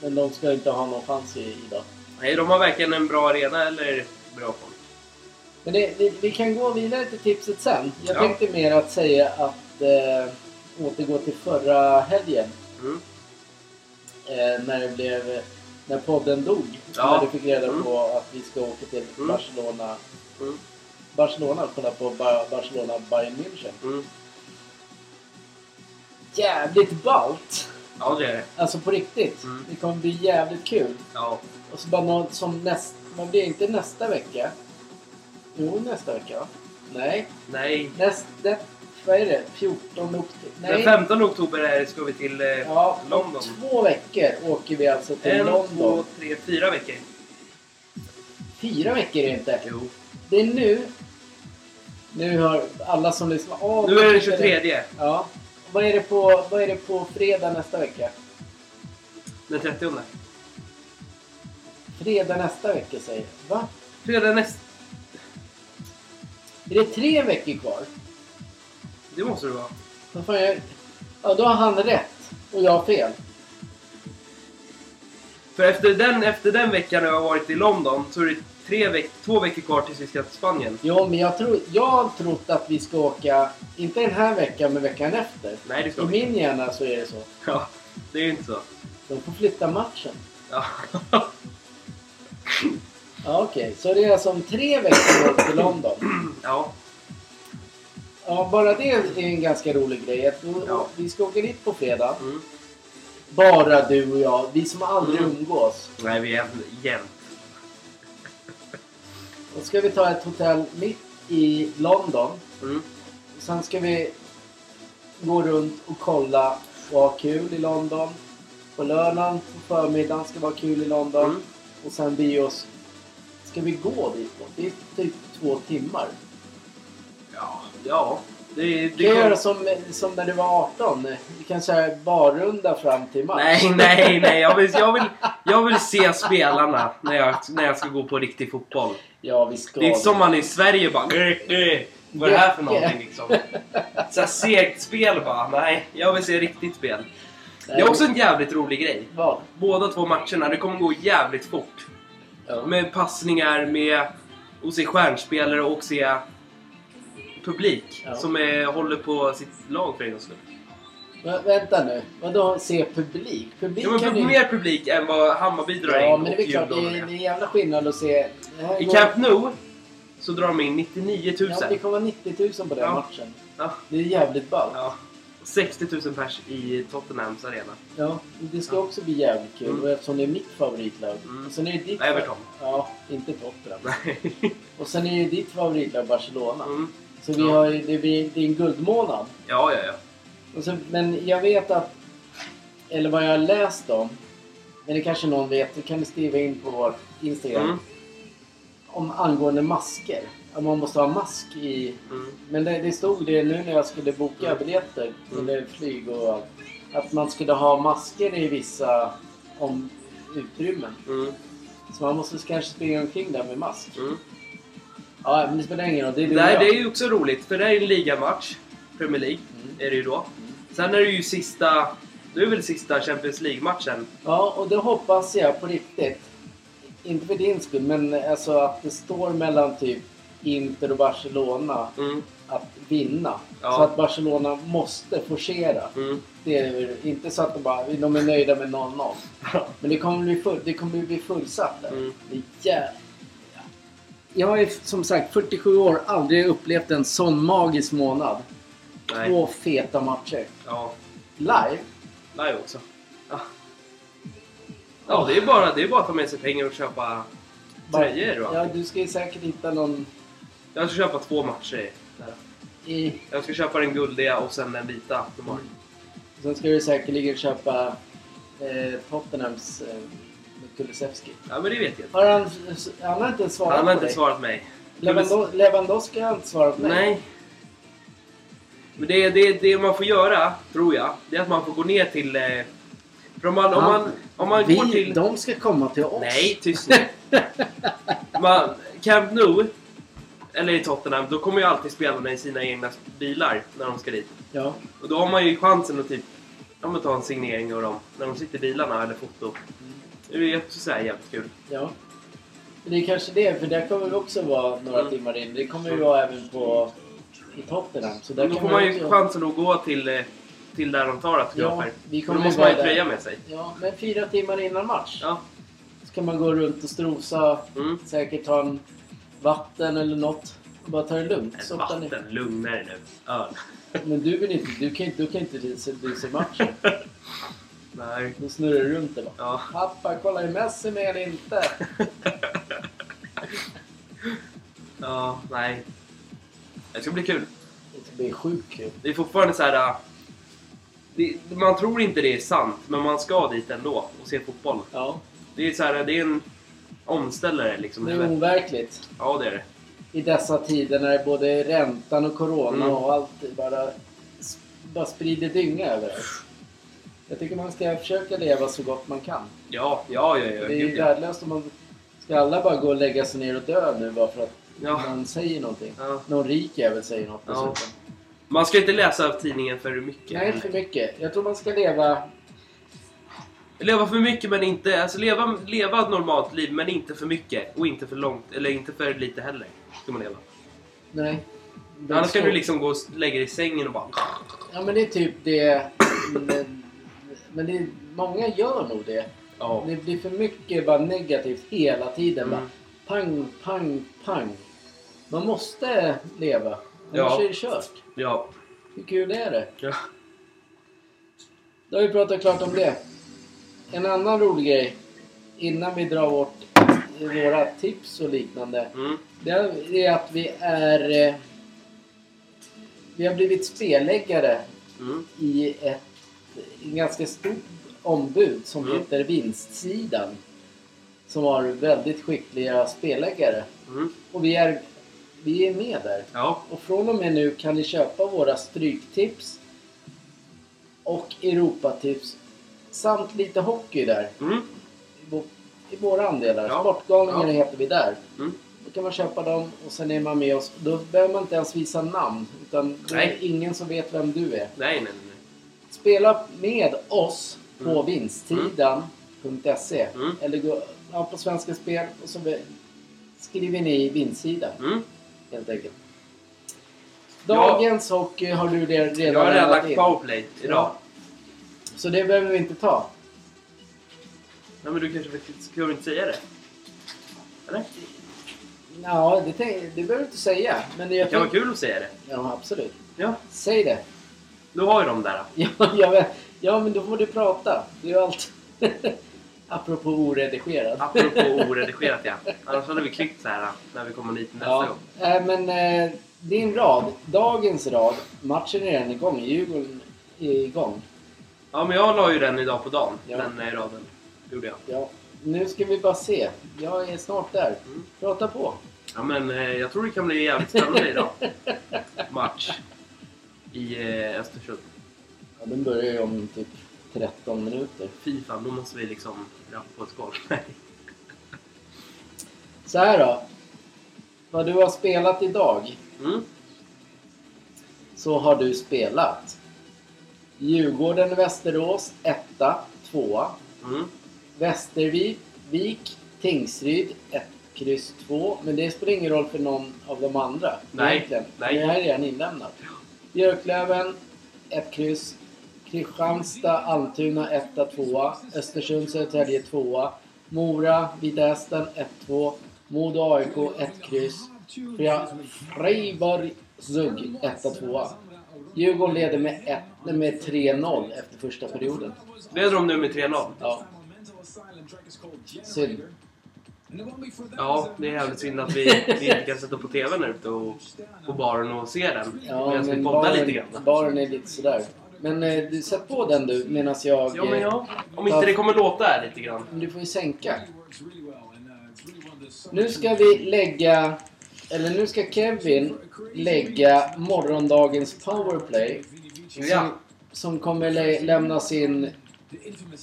[SPEAKER 2] Men de ska inte ha någon chans i idag.
[SPEAKER 3] Nej, de har verkligen en bra arena eller bra folk.
[SPEAKER 2] Men det, vi, vi kan gå vidare till tipset sen. Jag
[SPEAKER 3] Ja.
[SPEAKER 2] tänkte mer att säga att eh, återgå till förra helgen.
[SPEAKER 3] Mm.
[SPEAKER 2] Eh, när det blev... När podden dog.
[SPEAKER 3] Ja.
[SPEAKER 2] När du fick reda
[SPEAKER 3] Mm.
[SPEAKER 2] på att vi ska åka till
[SPEAKER 3] Mm.
[SPEAKER 2] Barcelona.
[SPEAKER 3] Mm.
[SPEAKER 2] Barcelona och kolla på Bar- Barcelona Bayern München.
[SPEAKER 3] Mm.
[SPEAKER 2] Jävligt ballt!
[SPEAKER 3] Ja, det är det.
[SPEAKER 2] Alltså på riktigt.
[SPEAKER 3] Mm.
[SPEAKER 2] Det kommer bli jävligt kul.
[SPEAKER 3] Ja.
[SPEAKER 2] Och så bara något som näst... Vad blir det? Inte nästa vecka? Jo, nästa vecka va? Nej.
[SPEAKER 3] Nej.
[SPEAKER 2] Näst... Det, vad är det? 14 oktober?
[SPEAKER 3] Den
[SPEAKER 2] Nej.
[SPEAKER 3] 15 oktober är, ska vi till eh,
[SPEAKER 2] Ja, om
[SPEAKER 3] London.
[SPEAKER 2] två veckor åker vi alltså till
[SPEAKER 3] En,
[SPEAKER 2] London.
[SPEAKER 3] två, tre, fyra veckor.
[SPEAKER 2] Fyra veckor är det inte.
[SPEAKER 3] Jo.
[SPEAKER 2] Det är nu... Nu har alla som lyssnar... Åh,
[SPEAKER 3] Nu
[SPEAKER 2] vad
[SPEAKER 3] är det den
[SPEAKER 2] heter
[SPEAKER 3] 23.
[SPEAKER 2] Ja. Vad är, det på, vad är det på fredag nästa vecka?
[SPEAKER 3] Den 30.
[SPEAKER 2] Fredag nästa vecka säger jag. Va?
[SPEAKER 3] Fredag näst...
[SPEAKER 2] Är det tre veckor kvar?
[SPEAKER 3] Det måste det vara.
[SPEAKER 2] Vad fan jag... Ja, då har han rätt och jag har fel.
[SPEAKER 3] För efter den, efter den veckan när jag har varit i London så är det tre veck, två veckor kvar tills vi ska till Spanien.
[SPEAKER 2] Jo, men jag, tror, jag har trott att vi ska åka, inte den här veckan, men veckan efter.
[SPEAKER 3] Nej, det
[SPEAKER 2] I
[SPEAKER 3] ska vi
[SPEAKER 2] min hjärna så är det så.
[SPEAKER 3] Ja, det är ju inte så.
[SPEAKER 2] De får flytta matchen.
[SPEAKER 3] Ja. [LAUGHS]
[SPEAKER 2] Ja, okej. Så det är alltså om tre veckor bort till London.
[SPEAKER 3] ja.
[SPEAKER 2] Ja, bara det är en ganska rolig grej. Att vi-
[SPEAKER 3] Ja.
[SPEAKER 2] Vi ska åka dit på fredag.
[SPEAKER 3] Mm.
[SPEAKER 2] Bara du och jag. Vi som aldrig
[SPEAKER 3] Mm.
[SPEAKER 2] umgås.
[SPEAKER 3] Nej, vi är jämt.
[SPEAKER 2] Då ska vi ta ett hotell mitt i London.
[SPEAKER 3] Mm.
[SPEAKER 2] Sen ska vi gå runt och kolla och ha kul i London. På lördagen på förmiddagen ska vara kul i London.
[SPEAKER 3] Mm.
[SPEAKER 2] Och sen blir oss... Ska vi gå dit då? Det är typ två timmar.
[SPEAKER 3] Ja, ja. Det,
[SPEAKER 2] Vi kan
[SPEAKER 3] det
[SPEAKER 2] göra som, som när du var 18. Vi kan köra barrunda fram till match.
[SPEAKER 3] Nej, nej, nej. Jag vill, jag vill, jag vill se spelarna när jag, när jag ska gå på riktig fotboll.
[SPEAKER 2] Ja, vi ska.
[SPEAKER 3] Det är som man i Sverige bara... "Grr, grr." Vad är det här för någonting liksom? Så här segt spel bara. Nej, jag vill se riktigt spel. Det är också en jävligt rolig grej.
[SPEAKER 2] Vad?
[SPEAKER 3] Båda två matcherna, det kommer gå jävligt fort.
[SPEAKER 2] Ja.
[SPEAKER 3] Med passningar, med att se stjärnspelare och se publik
[SPEAKER 2] Ja.
[SPEAKER 3] som är, håller på sitt lag för en skull.
[SPEAKER 2] Vä- vänta nu. Vadå se publik? Publik
[SPEAKER 3] Ja, men
[SPEAKER 2] kan
[SPEAKER 3] pub-
[SPEAKER 2] ju-
[SPEAKER 3] mer publik än vad Hammarby drar
[SPEAKER 2] Ja,
[SPEAKER 3] in
[SPEAKER 2] men det är
[SPEAKER 3] och
[SPEAKER 2] väl klart. Det
[SPEAKER 3] Djurgården
[SPEAKER 2] är, det är
[SPEAKER 3] är.
[SPEAKER 2] en jävla skillnad att se... Det här
[SPEAKER 3] I
[SPEAKER 2] går-
[SPEAKER 3] Camp Nou så drar de in 99 000.
[SPEAKER 2] Ja, det kommer vara 90 000 på den
[SPEAKER 3] Ja.
[SPEAKER 2] matchen.
[SPEAKER 3] Ja,
[SPEAKER 2] Det är jävligt ballt.
[SPEAKER 3] ja. 60 000 pers i Tottenhams arena. [LAUGHS]
[SPEAKER 2] Ja, det ska
[SPEAKER 3] Ja.
[SPEAKER 2] också bli jävligt kul.
[SPEAKER 3] Mm.
[SPEAKER 2] Och eftersom det är mitt favoritlag.
[SPEAKER 3] Mm.
[SPEAKER 2] Och sen är det ditt
[SPEAKER 3] Everton.
[SPEAKER 2] Ja, inte Tottenham.
[SPEAKER 3] Nej.
[SPEAKER 2] Och sen är ju ditt favoritlag Barcelona.
[SPEAKER 3] Mm.
[SPEAKER 2] Så vi
[SPEAKER 3] Ja.
[SPEAKER 2] har, ju- det, blir, det är en guldmånad.
[SPEAKER 3] Ja, ja, ja.
[SPEAKER 2] Och så, men jag vet att, eller vad jag har läst om, men det kanske någon vet, det kan ni skriva in på vår Instagram.
[SPEAKER 3] Mm.
[SPEAKER 2] Om angående masker. Att man måste ha mask i...
[SPEAKER 3] Mm.
[SPEAKER 2] Men det, det stod det nu när jag skulle boka
[SPEAKER 3] Mm.
[SPEAKER 2] biljetter,
[SPEAKER 3] Mm.
[SPEAKER 2] eller flyg och allt. Att man skulle ha masker i vissa om, utrymmen.
[SPEAKER 3] Mm.
[SPEAKER 2] Så man måste kanske springa omkring där med mask.
[SPEAKER 3] Mm.
[SPEAKER 2] Ja, men det spelar ingen roll. Det är du och
[SPEAKER 3] Nej,
[SPEAKER 2] jag.
[SPEAKER 3] det är ju också roligt, för det här är en ligamatch. Premier League
[SPEAKER 2] Mm.
[SPEAKER 3] är det ju då. Sen är det ju sista... Det är väl sista Champions League-matchen.
[SPEAKER 2] Ja, och det hoppas jag på riktigt. Inte för din skull, men alltså att det står mellan typ Inter och Barcelona
[SPEAKER 3] Mm.
[SPEAKER 2] att vinna.
[SPEAKER 3] Ja.
[SPEAKER 2] Så att Barcelona måste forcera.
[SPEAKER 3] Mm.
[SPEAKER 2] Det är väl inte så att de bara de är nöjda med 0-0. Men det kommer bli, full, det kommer bli fullsatt där.
[SPEAKER 3] Mm.
[SPEAKER 2] Det är jä- Jag är som sagt 47 år, aldrig upplevt en sån magisk månad.
[SPEAKER 3] Nej.
[SPEAKER 2] Två feta matcher.
[SPEAKER 3] Ja.
[SPEAKER 2] Live?
[SPEAKER 3] Live också. Ja. Ja, det är bara, det är bara att ta med sig pengar och köpa tröjor. va?
[SPEAKER 2] Ja, du ska ju säkert hitta någon
[SPEAKER 3] Jag ska köpa två matcher. Där.
[SPEAKER 2] i
[SPEAKER 3] Jag ska köpa den guldiga och sen den vita. de har.
[SPEAKER 2] Mm. Sen ska du säkerligen köpa eh, Tottenhams eh, Kulusevski.
[SPEAKER 3] Ja, men det vet jag. inte.
[SPEAKER 2] Har han, han har inte svarat
[SPEAKER 3] Han har
[SPEAKER 2] på
[SPEAKER 3] inte
[SPEAKER 2] dig.
[SPEAKER 3] svarat mig.
[SPEAKER 2] Lewando- Lewandowski har inte svarat på dig.
[SPEAKER 3] Nej. Men det, det, det man får göra, tror jag, det är att man får gå ner till... eh, För om man, om man, om man
[SPEAKER 2] vi,
[SPEAKER 3] går till...
[SPEAKER 2] De ska komma till oss.
[SPEAKER 3] Nej, tyst nu. Man, Camp Nou, eller i Tottenham, då kommer ju alltid spelarna i sina egna bilar när de ska dit.
[SPEAKER 2] Ja.
[SPEAKER 3] Och då har man ju chansen att typ, ja, men ta en signering av dem när de sitter i bilarna eller foto. Det är ju också så här jävligt kul.
[SPEAKER 2] ja. Men det är kanske det, för där kommer vi också vara några
[SPEAKER 3] Mm.
[SPEAKER 2] timmar in. Det kommer vi vara även på i Tottenham. Så där
[SPEAKER 3] Men då
[SPEAKER 2] kan
[SPEAKER 3] får man ju
[SPEAKER 2] också-
[SPEAKER 3] chansen att gå till, eh, till där de tar autografer.
[SPEAKER 2] Ja, vi
[SPEAKER 3] Och
[SPEAKER 2] kommer
[SPEAKER 3] då måste
[SPEAKER 2] vara
[SPEAKER 3] man ju
[SPEAKER 2] där.
[SPEAKER 3] tröja med sig.
[SPEAKER 2] Ja, men fyra timmar innan match.
[SPEAKER 3] Ja.
[SPEAKER 2] Så kan man gå runt och strosa
[SPEAKER 3] Mm.
[SPEAKER 2] Säkert ta en vatten eller något. Och bara ta det lugnt.
[SPEAKER 3] Men
[SPEAKER 2] Softa ner.
[SPEAKER 3] Vatten, lugna dig nu. Öl.
[SPEAKER 2] Men du vill inte, du kan, inte- du kan inte bli så- bli så matchen.
[SPEAKER 3] Nej.
[SPEAKER 2] Då snurrar du runt det bara.
[SPEAKER 3] Ja. [LAUGHS]
[SPEAKER 2] Pappa, kolla är Messi med eller inte?
[SPEAKER 3] Ja, nej. Det ska bli kul.
[SPEAKER 2] Det blir sjukt kul.
[SPEAKER 3] Det är fortfarande så här... äh, Det, man tror inte det är sant, men man ska dit ändå och se fotboll.
[SPEAKER 2] Ja,
[SPEAKER 3] Det är så här, det är en omställare liksom.
[SPEAKER 2] det
[SPEAKER 3] Det
[SPEAKER 2] är overkligt.
[SPEAKER 3] ja, det är det.
[SPEAKER 2] I dessa tider när både räntan och corona
[SPEAKER 3] Mm.
[SPEAKER 2] och allt bara, bara sprider dynga överallt. Jag tycker man ska försöka leva så gott man kan.
[SPEAKER 3] Ja, ja, ja, ja.
[SPEAKER 2] Det är ju
[SPEAKER 3] gud, ja.
[SPEAKER 2] värdelöst om man... Ska alla bara gå och lägga sig ner och dö nu bara för att
[SPEAKER 3] Ja.
[SPEAKER 2] någon säger någonting?
[SPEAKER 3] Ja.
[SPEAKER 2] Någon rik jävel säger något
[SPEAKER 3] Ja.
[SPEAKER 2] dessutom.
[SPEAKER 3] Man ska inte läsa av tidningen för mycket. Mm.
[SPEAKER 2] Nej, inte för mycket. Jag tror man ska leva...
[SPEAKER 3] Leva för mycket men inte... Alltså leva, leva ett normalt liv men inte för mycket. Och inte för långt. Eller inte för lite heller. Ska man leva.
[SPEAKER 2] Nej. Det är
[SPEAKER 3] Annars kan
[SPEAKER 2] så-
[SPEAKER 3] du liksom gå och s- lägga dig i sängen och bara...
[SPEAKER 2] Ja, men det är typ det... Men, men det är... många gör nog det.
[SPEAKER 3] Ja.
[SPEAKER 2] Det blir för mycket bara negativt hela tiden.
[SPEAKER 3] Mm.
[SPEAKER 2] Bara pang, pang, pang. Man måste leva.
[SPEAKER 3] Ja.
[SPEAKER 2] Annars är det kört.
[SPEAKER 3] Ja.
[SPEAKER 2] Hur kul är det?
[SPEAKER 3] ja.
[SPEAKER 2] Då har vi pratat klart om det. En annan rolig grej innan vi drar vårt i våra tips och liknande.
[SPEAKER 3] Mm.
[SPEAKER 2] Det är att vi är... eh, Vi har blivit speläggare
[SPEAKER 3] Mm.
[SPEAKER 2] i ett en ganska stort ombud som
[SPEAKER 3] Mm.
[SPEAKER 2] heter Vinstsidan. Som har väldigt skickliga speläggare.
[SPEAKER 3] Mm.
[SPEAKER 2] Och vi är, vi är med där.
[SPEAKER 3] Ja.
[SPEAKER 2] Och från och med nu kan ni köpa våra stryktips och Europatips samt lite hockey där.
[SPEAKER 3] Mm.
[SPEAKER 2] I vå- I våra andelar.
[SPEAKER 3] Ja.
[SPEAKER 2] Sportgalningar
[SPEAKER 3] Ja.
[SPEAKER 2] heter vi där.
[SPEAKER 3] Mm.
[SPEAKER 2] Då kan man köpa dem och sen är man med oss. Då behöver man inte ens visa namn. Utan då är
[SPEAKER 3] Nej.
[SPEAKER 2] det ingen som vet vem du är.
[SPEAKER 3] Nej, nej, nej.
[SPEAKER 2] Spela med oss på
[SPEAKER 3] Mm.
[SPEAKER 2] vinsttidan.se
[SPEAKER 3] Mm.
[SPEAKER 2] eller gå ja, på Svenska Spel och så be- skriver ni vinstsidan
[SPEAKER 3] nej. Mm.
[SPEAKER 2] helt enkelt.
[SPEAKER 3] Ja.
[SPEAKER 2] Dagens hockey har du re- redan
[SPEAKER 3] Jag har redan
[SPEAKER 2] lämnat
[SPEAKER 3] lagt powerplay idag.
[SPEAKER 2] Ja. Så det behöver vi inte ta.
[SPEAKER 3] Nej, men du kanske faktiskt- ska du inte säga det? Eller?
[SPEAKER 2] Ja, det, tänk, det behöver du inte säga. Men
[SPEAKER 3] Det
[SPEAKER 2] jag
[SPEAKER 3] kan vara
[SPEAKER 2] tänk,
[SPEAKER 3] kul att säga det.
[SPEAKER 2] ja, absolut.
[SPEAKER 3] Ja,
[SPEAKER 2] Säg det. [LAUGHS]
[SPEAKER 3] du har ju de där.
[SPEAKER 2] Ja, jag vet. ja, men då får du prata. Det är ju allt. [LAUGHS] Apropå oredigerad.
[SPEAKER 3] Apropå [LAUGHS] oredigerat ja. Annars hade vi klippt så här när vi kommer hit nästa
[SPEAKER 2] Ja,
[SPEAKER 3] gång.
[SPEAKER 2] eh, men eh, din rad, dagens rad, matchen är redan igång, Djurgården är igång.
[SPEAKER 3] Ja, men jag la ju den idag på dagen.
[SPEAKER 2] Ja.
[SPEAKER 3] Den eh, raden. Gjorde jag.
[SPEAKER 2] Ja, nu ska vi bara se. Jag är snart där.
[SPEAKER 3] Mm.
[SPEAKER 2] Prata på.
[SPEAKER 3] Ja, men eh, jag tror det kan bli jävligt spännande idag. Match. I eh, Östersund.
[SPEAKER 2] [LAUGHS] Ja, den börjar ju om typ 13 minuter.
[SPEAKER 3] Fy fan, då måste vi liksom rappa på ett skål. Nej.
[SPEAKER 2] Så här då. Vad du har spelat idag
[SPEAKER 3] [LAUGHS] Mm.
[SPEAKER 2] så har du spelat Djurgården-Västerås 1, 2.
[SPEAKER 3] Mm.
[SPEAKER 2] Västervik, Vik, Tingsryd 1, kryss 2. Men det spelar ingen roll för någon av de andra.
[SPEAKER 3] Nej,
[SPEAKER 2] egentligen.
[SPEAKER 3] nej.
[SPEAKER 2] Det här är redan inlämnat. Björklöven 1, kryss. Kristianstad, Almtuna 1, 2. Östersund, Södertälje 2. Mora, Vita Hästen 1, 2. Modo AIK 1, kryss. Fre- Freiborg, Zug 1, 2. Djurgården leder med, ett- nej, med 3-0 efter första perioden.
[SPEAKER 3] Leder de nu med 3-0?
[SPEAKER 2] Ja. Synd.
[SPEAKER 3] Ja, det är jävligt synd att vi, vi inte kan sätta på TVn här ute och på baren och se den. Medan vi poddar lite grann.
[SPEAKER 2] baren är lite sådär. Men eh, du, sätt på den du medan jag...
[SPEAKER 3] Ja, men ja. Om
[SPEAKER 2] Ja.
[SPEAKER 3] inte det kommer låta här lite grann.
[SPEAKER 2] eh, Du får ju sänka. Nu ska vi lägga... Eller nu ska Kevin lägga morgondagens powerplay.
[SPEAKER 3] Ja.
[SPEAKER 2] Som kommer lä- lämnas in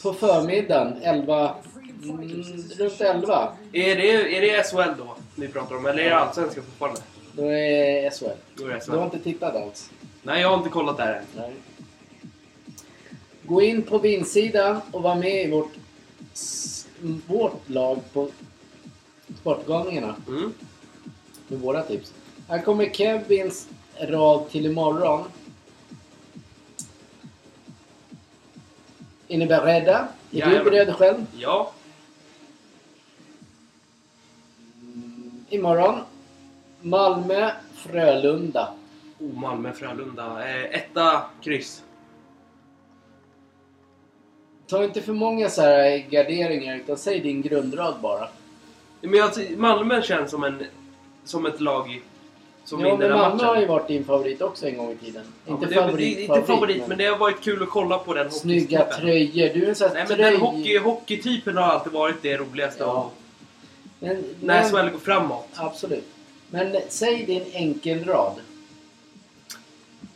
[SPEAKER 2] på förmiddagen 11... Mm, runt 11.
[SPEAKER 3] Är det, är det SHL då vi pratar om? Eller är det allsvenskan fortfarande?
[SPEAKER 2] Då är SHL.
[SPEAKER 3] Då är det
[SPEAKER 2] Du har
[SPEAKER 3] SHL.
[SPEAKER 2] inte tittat alls?
[SPEAKER 3] Nej, jag har inte kollat där än.
[SPEAKER 2] Nej. Gå in på vinsidan och var med i vårt, s- vårt lag på Sportgalningarna
[SPEAKER 3] Mm.
[SPEAKER 2] med våra tips. Här kommer Kevins rad till imorgon. Är ni beredda? Är du
[SPEAKER 3] Jajamän.
[SPEAKER 2] beredd själv?
[SPEAKER 3] Ja.
[SPEAKER 2] Imorgon. Malmö, Frölunda.
[SPEAKER 3] Oh, Malmö, Frölunda. Eh, etta, kryss.
[SPEAKER 2] Ta inte för många så här garderingar utan säg din grundrad bara.
[SPEAKER 3] Men jag, ty- Malmö känns som, en, som ett lag som
[SPEAKER 2] ja,
[SPEAKER 3] vinner
[SPEAKER 2] men
[SPEAKER 3] den
[SPEAKER 2] Malmö
[SPEAKER 3] matchen.
[SPEAKER 2] har ju varit din favorit också en gång i tiden.
[SPEAKER 3] Ja, men
[SPEAKER 2] inte
[SPEAKER 3] det,
[SPEAKER 2] favorit,
[SPEAKER 3] det, inte
[SPEAKER 2] favorit,
[SPEAKER 3] favorit, men... det har varit kul att kolla på den
[SPEAKER 2] Snygga
[SPEAKER 3] hockeytypen.
[SPEAKER 2] tröjor. Du är en sån
[SPEAKER 3] Nej,
[SPEAKER 2] här
[SPEAKER 3] men den hockey, hockeytypen har alltid varit det roligaste.
[SPEAKER 2] Ja.
[SPEAKER 3] av-
[SPEAKER 2] Men,
[SPEAKER 3] När
[SPEAKER 2] men-
[SPEAKER 3] SHL går framåt.
[SPEAKER 2] Absolut. Men säg din enkelrad.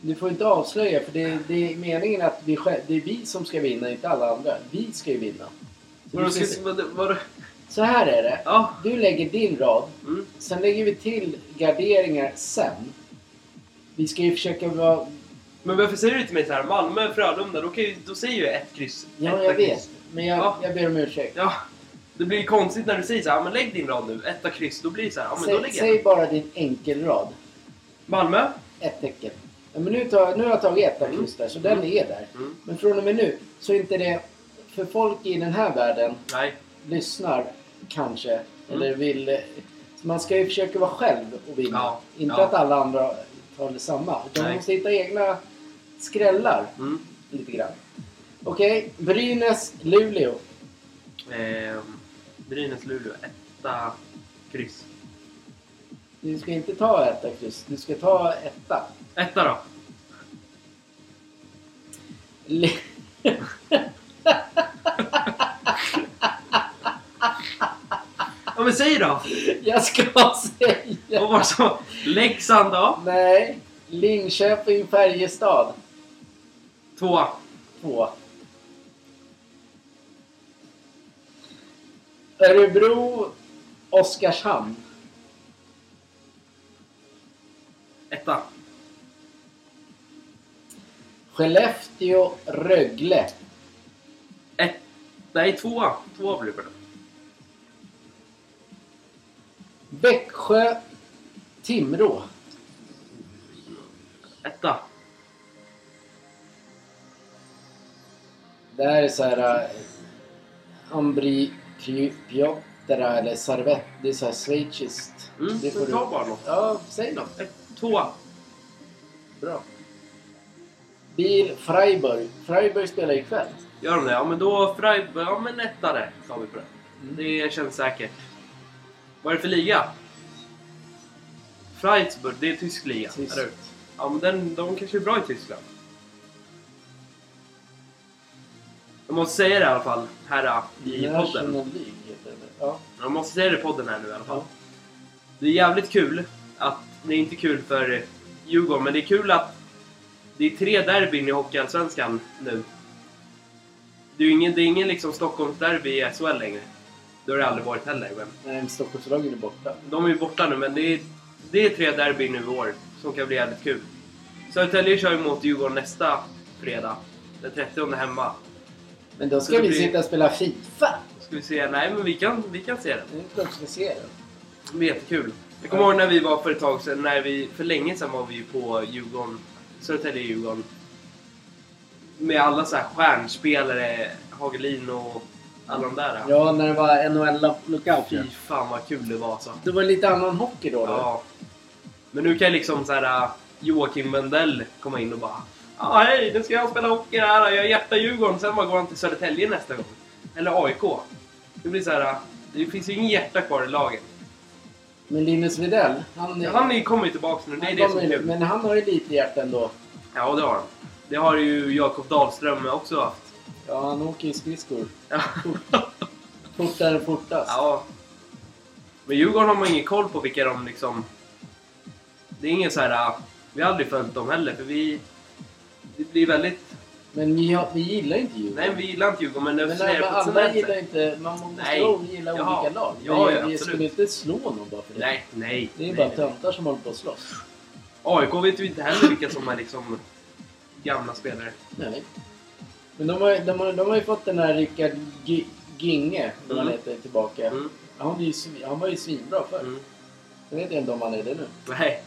[SPEAKER 2] Du får inte avslöja för det, det är meningen att vi, själv- det är vi som ska vinna, inte alla andra. Vi ska ju vinna. Så,
[SPEAKER 3] Vadå,
[SPEAKER 2] du ska,
[SPEAKER 3] ska,
[SPEAKER 2] se-
[SPEAKER 3] vad, vad,
[SPEAKER 2] så här är det.
[SPEAKER 3] ja.
[SPEAKER 2] Du lägger din rad.
[SPEAKER 3] Mm.
[SPEAKER 2] Sen lägger vi till garderingar sen. Vi ska ju försöka vara...
[SPEAKER 3] Men varför säger du till mig så här? Malmö, Frölunda, då, kan ju, då säger jag ett kryss.
[SPEAKER 2] Ja,
[SPEAKER 3] etta,
[SPEAKER 2] jag
[SPEAKER 3] kryss.
[SPEAKER 2] vet. Men jag,
[SPEAKER 3] Ja.
[SPEAKER 2] jag ber om ursäkt.
[SPEAKER 3] Ja, det blir ju konstigt när du säger så här, ja, men lägg din rad nu, etta kryss. Då blir det så här, ja men då
[SPEAKER 2] Säg,
[SPEAKER 3] lägger jag.
[SPEAKER 2] säg bara din enkelrad.
[SPEAKER 3] Malmö?
[SPEAKER 2] Ett tecken. Ja, men nu, tar, nu har jag tagit ett
[SPEAKER 3] Mm.
[SPEAKER 2] akust där, så den är där.
[SPEAKER 3] Mm.
[SPEAKER 2] Men från och med nu så är inte det... För folk i den här världen
[SPEAKER 3] Nej.
[SPEAKER 2] lyssnar kanske,
[SPEAKER 3] Mm.
[SPEAKER 2] eller vill... eh, Så man ska ju försöka vara själv och vinna.
[SPEAKER 3] Ja,
[SPEAKER 2] Inte
[SPEAKER 3] ja.
[SPEAKER 2] att alla andra tar detsamma. Utan man
[SPEAKER 3] Nej.
[SPEAKER 2] måste hitta egna skrällar
[SPEAKER 3] Mm.
[SPEAKER 2] lite grann. Okej, Brynäs-Luleå.
[SPEAKER 3] Ehm, Brynäs, Luleå, ett- etta, kryss.
[SPEAKER 2] Du ska inte ta etta kryss, du ska ta etta. [LAUGHS]
[SPEAKER 3] Etta då.
[SPEAKER 2] Le-
[SPEAKER 3] Ja men säg då!
[SPEAKER 2] Jag ska säga...
[SPEAKER 3] Vad var det som... Leksand då?
[SPEAKER 2] Nej. Linköping, Färjestad.
[SPEAKER 3] Tvåa.
[SPEAKER 2] Två. Örebro, Oskarshamn.
[SPEAKER 3] Etta.
[SPEAKER 2] Skellefteå, Rögle.
[SPEAKER 3] Ett. Nej, tvåa. Tvåa blir det.
[SPEAKER 2] Växjö, Timrå.
[SPEAKER 3] Etta.
[SPEAKER 2] Det här är så här... äh, Ambri Piotra eller Servett. Det är så här schweiziskt.
[SPEAKER 3] Mm,
[SPEAKER 2] det
[SPEAKER 3] men ta bara något.
[SPEAKER 2] Ja, säg något.
[SPEAKER 3] Ett, tvåa.
[SPEAKER 2] Bra. Biel, Freiburg. Freiburg spelar ikväll.
[SPEAKER 3] Gör de det? Ja men då Freiburg. Ja men etta där tar vi på det.
[SPEAKER 2] Mm.
[SPEAKER 3] Det känns säkert. Vad är det för liga? Freiburg, det är tysk liga.
[SPEAKER 2] Tysk.
[SPEAKER 3] eller hur? Ja men den, de kanske är bra i Tyskland. Jag måste säga det i alla fall här äh, i
[SPEAKER 2] National
[SPEAKER 3] podden.
[SPEAKER 2] League heter det. Ja.
[SPEAKER 3] Jag måste säga det i podden här nu i alla fall.
[SPEAKER 2] ja.
[SPEAKER 3] Det är jävligt kul att... Det är inte kul för Djurgården, men det är kul att det är tre derbyn i Hockeyallsvenskan nu. Det är ju ingen, det är ingen liksom Stockholmsderby i SHL längre. Det har det aldrig varit heller. Men
[SPEAKER 2] Nej, men Stockholmslagen är borta.
[SPEAKER 3] de är ju borta nu, men det är, det är tre derbyn nu i år som kan bli jävligt kul. Södertälje kör ju mot Djurgården nästa fredag. Den 30 hemma.
[SPEAKER 2] Men då ska
[SPEAKER 3] Så det
[SPEAKER 2] vi
[SPEAKER 3] blir-
[SPEAKER 2] sitta och spela Fifa.
[SPEAKER 3] Ska vi se? Nej, men vi kan, vi kan se den.
[SPEAKER 2] Det är klart vi ser det.
[SPEAKER 3] Det blir jättekul. Jag kommer ihåg när vi var för ett tag sedan, när vi, för länge sedan var vi ju på Djurgården, Södertälje Djurgården. Med alla så här stjärnspelare, Hagelin och alla de där.
[SPEAKER 2] Ja, när det var NHL-lockout.
[SPEAKER 3] Fy fan vad kul det var så.
[SPEAKER 2] Det var lite annan hockey då. då.
[SPEAKER 3] Ja. Men nu kan liksom så här äh, Joakim Wendell komma in och bara Ja hej, nu ska jag spela hockey här, jag hjärtar Djurgården, sen bara går han till Södertälje nästa gång. Eller AIK. Det blir så här, äh, det finns ju ingen hjärta kvar i laget.
[SPEAKER 2] Men Linus Widell, han,
[SPEAKER 3] Han har ju kommit tillbaka nu, det är
[SPEAKER 2] han
[SPEAKER 3] det som är
[SPEAKER 2] kommer-
[SPEAKER 3] kul.
[SPEAKER 2] Men han har ju lite hjärta ändå.
[SPEAKER 3] Ja, det har han. Det har ju Jakob Dahlström också
[SPEAKER 2] [LAUGHS]
[SPEAKER 3] haft.
[SPEAKER 2] Ja, han åker ju skridskor.
[SPEAKER 3] Ja.
[SPEAKER 2] Fortare än fortast.
[SPEAKER 3] ja. Men Djurgården har man ingen koll på vilka de liksom... Det är ingen så här... ah, Vi har aldrig följt dem heller, för vi... Det blir väldigt...
[SPEAKER 2] Men vi, har- vi gillar inte Djurgården.
[SPEAKER 3] Nej, vi gillar inte Djurgården, men det
[SPEAKER 2] Men
[SPEAKER 3] är
[SPEAKER 2] alla,
[SPEAKER 3] på ett sånt
[SPEAKER 2] alla
[SPEAKER 3] här
[SPEAKER 2] gillar
[SPEAKER 3] sätt.
[SPEAKER 2] inte... Man måste
[SPEAKER 3] Nej.
[SPEAKER 2] ju gilla
[SPEAKER 3] Jaha.
[SPEAKER 2] olika lag.
[SPEAKER 3] Ja,
[SPEAKER 2] Men
[SPEAKER 3] ja,
[SPEAKER 2] vi
[SPEAKER 3] absolut.
[SPEAKER 2] skulle inte slå någon bara för det.
[SPEAKER 3] Nej, nej.
[SPEAKER 2] Det är ju
[SPEAKER 3] nej,
[SPEAKER 2] bara
[SPEAKER 3] nej, nej.
[SPEAKER 2] töntar som håller på att slåss.
[SPEAKER 3] AIK vet ju inte heller vilka som är liksom gamla spelare.
[SPEAKER 2] Nej. Men de har, de, har, de har ju fått den här Rickard Gi- Ginge, när han
[SPEAKER 3] Mm.
[SPEAKER 2] heter, tillbaka.
[SPEAKER 3] Mm,
[SPEAKER 2] Han, blir ju, svin- han var ju svinbra förr.
[SPEAKER 3] mm.
[SPEAKER 2] Jag vet inte om han är det nu.
[SPEAKER 3] Nej,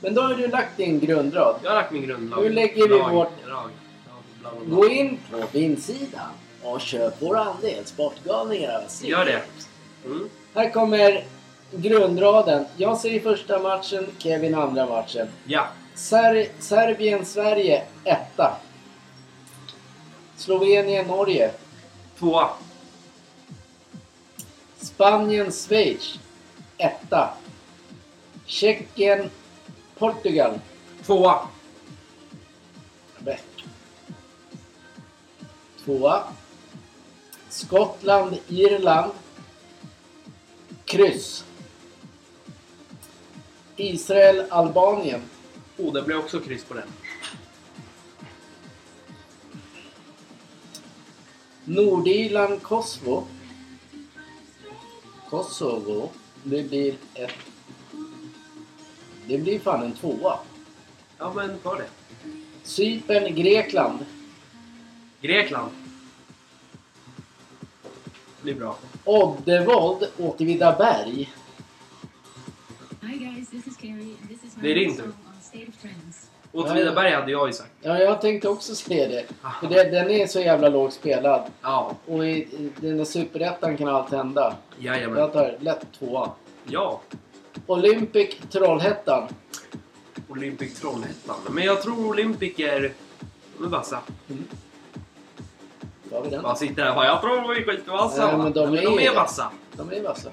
[SPEAKER 2] Men då har du lagt din grundrad.
[SPEAKER 3] jag har lagt min grundlag.
[SPEAKER 2] Nu lägger vi
[SPEAKER 3] Lag,
[SPEAKER 2] vårt-
[SPEAKER 3] Lag, lag, bla, bla, bla.
[SPEAKER 2] Gå in på vinsidan och köp vår andel Sportgalningar. alltså.
[SPEAKER 3] Gör det. Mm.
[SPEAKER 2] Här kommer grundraden. Jag säger första matchen, Kevin andra matchen.
[SPEAKER 3] Ja.
[SPEAKER 2] Ser- Serbien-Sverige etta. Slovenien-Norge.
[SPEAKER 3] Tvåa.
[SPEAKER 2] Spanien-Schweiz etta. Tjeckien-Portugal.
[SPEAKER 3] Tvåa.
[SPEAKER 2] Rätt. Tvåa. Skottland, Irland. Kryss. Israel, Albanien.
[SPEAKER 3] Oh, det blev också kryss på den.
[SPEAKER 2] Nordirland, Kosovo. Kosovo. Det blir ett... Det blir fan en tvåa.
[SPEAKER 3] Ja, men ta det.
[SPEAKER 2] Cypern, Grekland.
[SPEAKER 3] Grekland. Blir bra.
[SPEAKER 2] Oddevold, Åtvidaberg.
[SPEAKER 4] Hi guys, this is Carrie and this is my
[SPEAKER 3] Det är din
[SPEAKER 4] new
[SPEAKER 3] tur.
[SPEAKER 4] song on State of Trends.
[SPEAKER 3] Åtvidaberg hade jag ju sagt.
[SPEAKER 2] Ja, jag tänkte också säga det. För det, den är så jävla lågt spelad.
[SPEAKER 3] Ja,
[SPEAKER 2] Och i, i den där superettan kan allt hända.
[SPEAKER 3] jajamän.
[SPEAKER 2] Jag tar lätt tvåa.
[SPEAKER 3] Ja,
[SPEAKER 2] Olympic Trollhättan.
[SPEAKER 3] Olympic Trollhättan. Men jag tror Olympic är... De är vassa.
[SPEAKER 2] Då har vi den.
[SPEAKER 3] Bara sitter där och bara, jag tror de är skitvassa.
[SPEAKER 2] Nej, men de
[SPEAKER 3] Nej,
[SPEAKER 2] är
[SPEAKER 3] de
[SPEAKER 2] ju
[SPEAKER 3] är
[SPEAKER 2] det.
[SPEAKER 3] vassa.
[SPEAKER 2] De är vassa.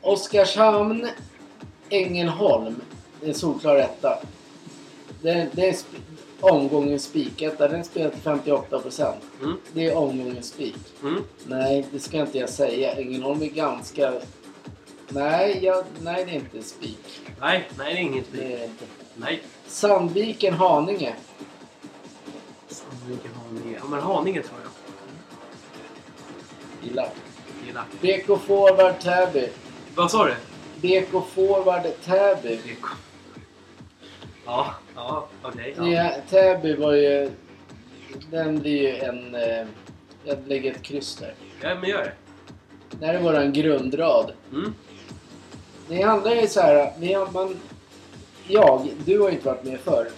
[SPEAKER 2] Oskarshamn, Ängelholm. Det är en solklar etta. Det, det är sp- omgången spiketta. Den spelar till 58%.
[SPEAKER 3] Mm.
[SPEAKER 2] Det är omgången spik.
[SPEAKER 3] Mm.
[SPEAKER 2] Nej, det ska inte jag säga. Ängelholm är ganska... Nej, jag... Nej, det är inte spik.
[SPEAKER 3] Nej, nej det är inget
[SPEAKER 2] Det
[SPEAKER 3] spik.
[SPEAKER 2] är inte.
[SPEAKER 3] Nej.
[SPEAKER 2] Sandviken, Haninge.
[SPEAKER 3] Vilken Haninge? Ja men Haninge tror jag.
[SPEAKER 2] Gillar.
[SPEAKER 3] Gillar.
[SPEAKER 2] BK Forward, Täby.
[SPEAKER 3] Vad sa du?
[SPEAKER 2] BK Forward, Täby.
[SPEAKER 3] BK. Ja, ja, okej. ja.
[SPEAKER 2] Ja, Täby var ju... Den blir ju en... eh, Jag lägger ett kryss där.
[SPEAKER 3] ja, men gör det.
[SPEAKER 2] Det här är våran grundrad.
[SPEAKER 3] Mm.
[SPEAKER 2] Det handlar ju så här, vi har, man, jag, du har ju inte varit med förr.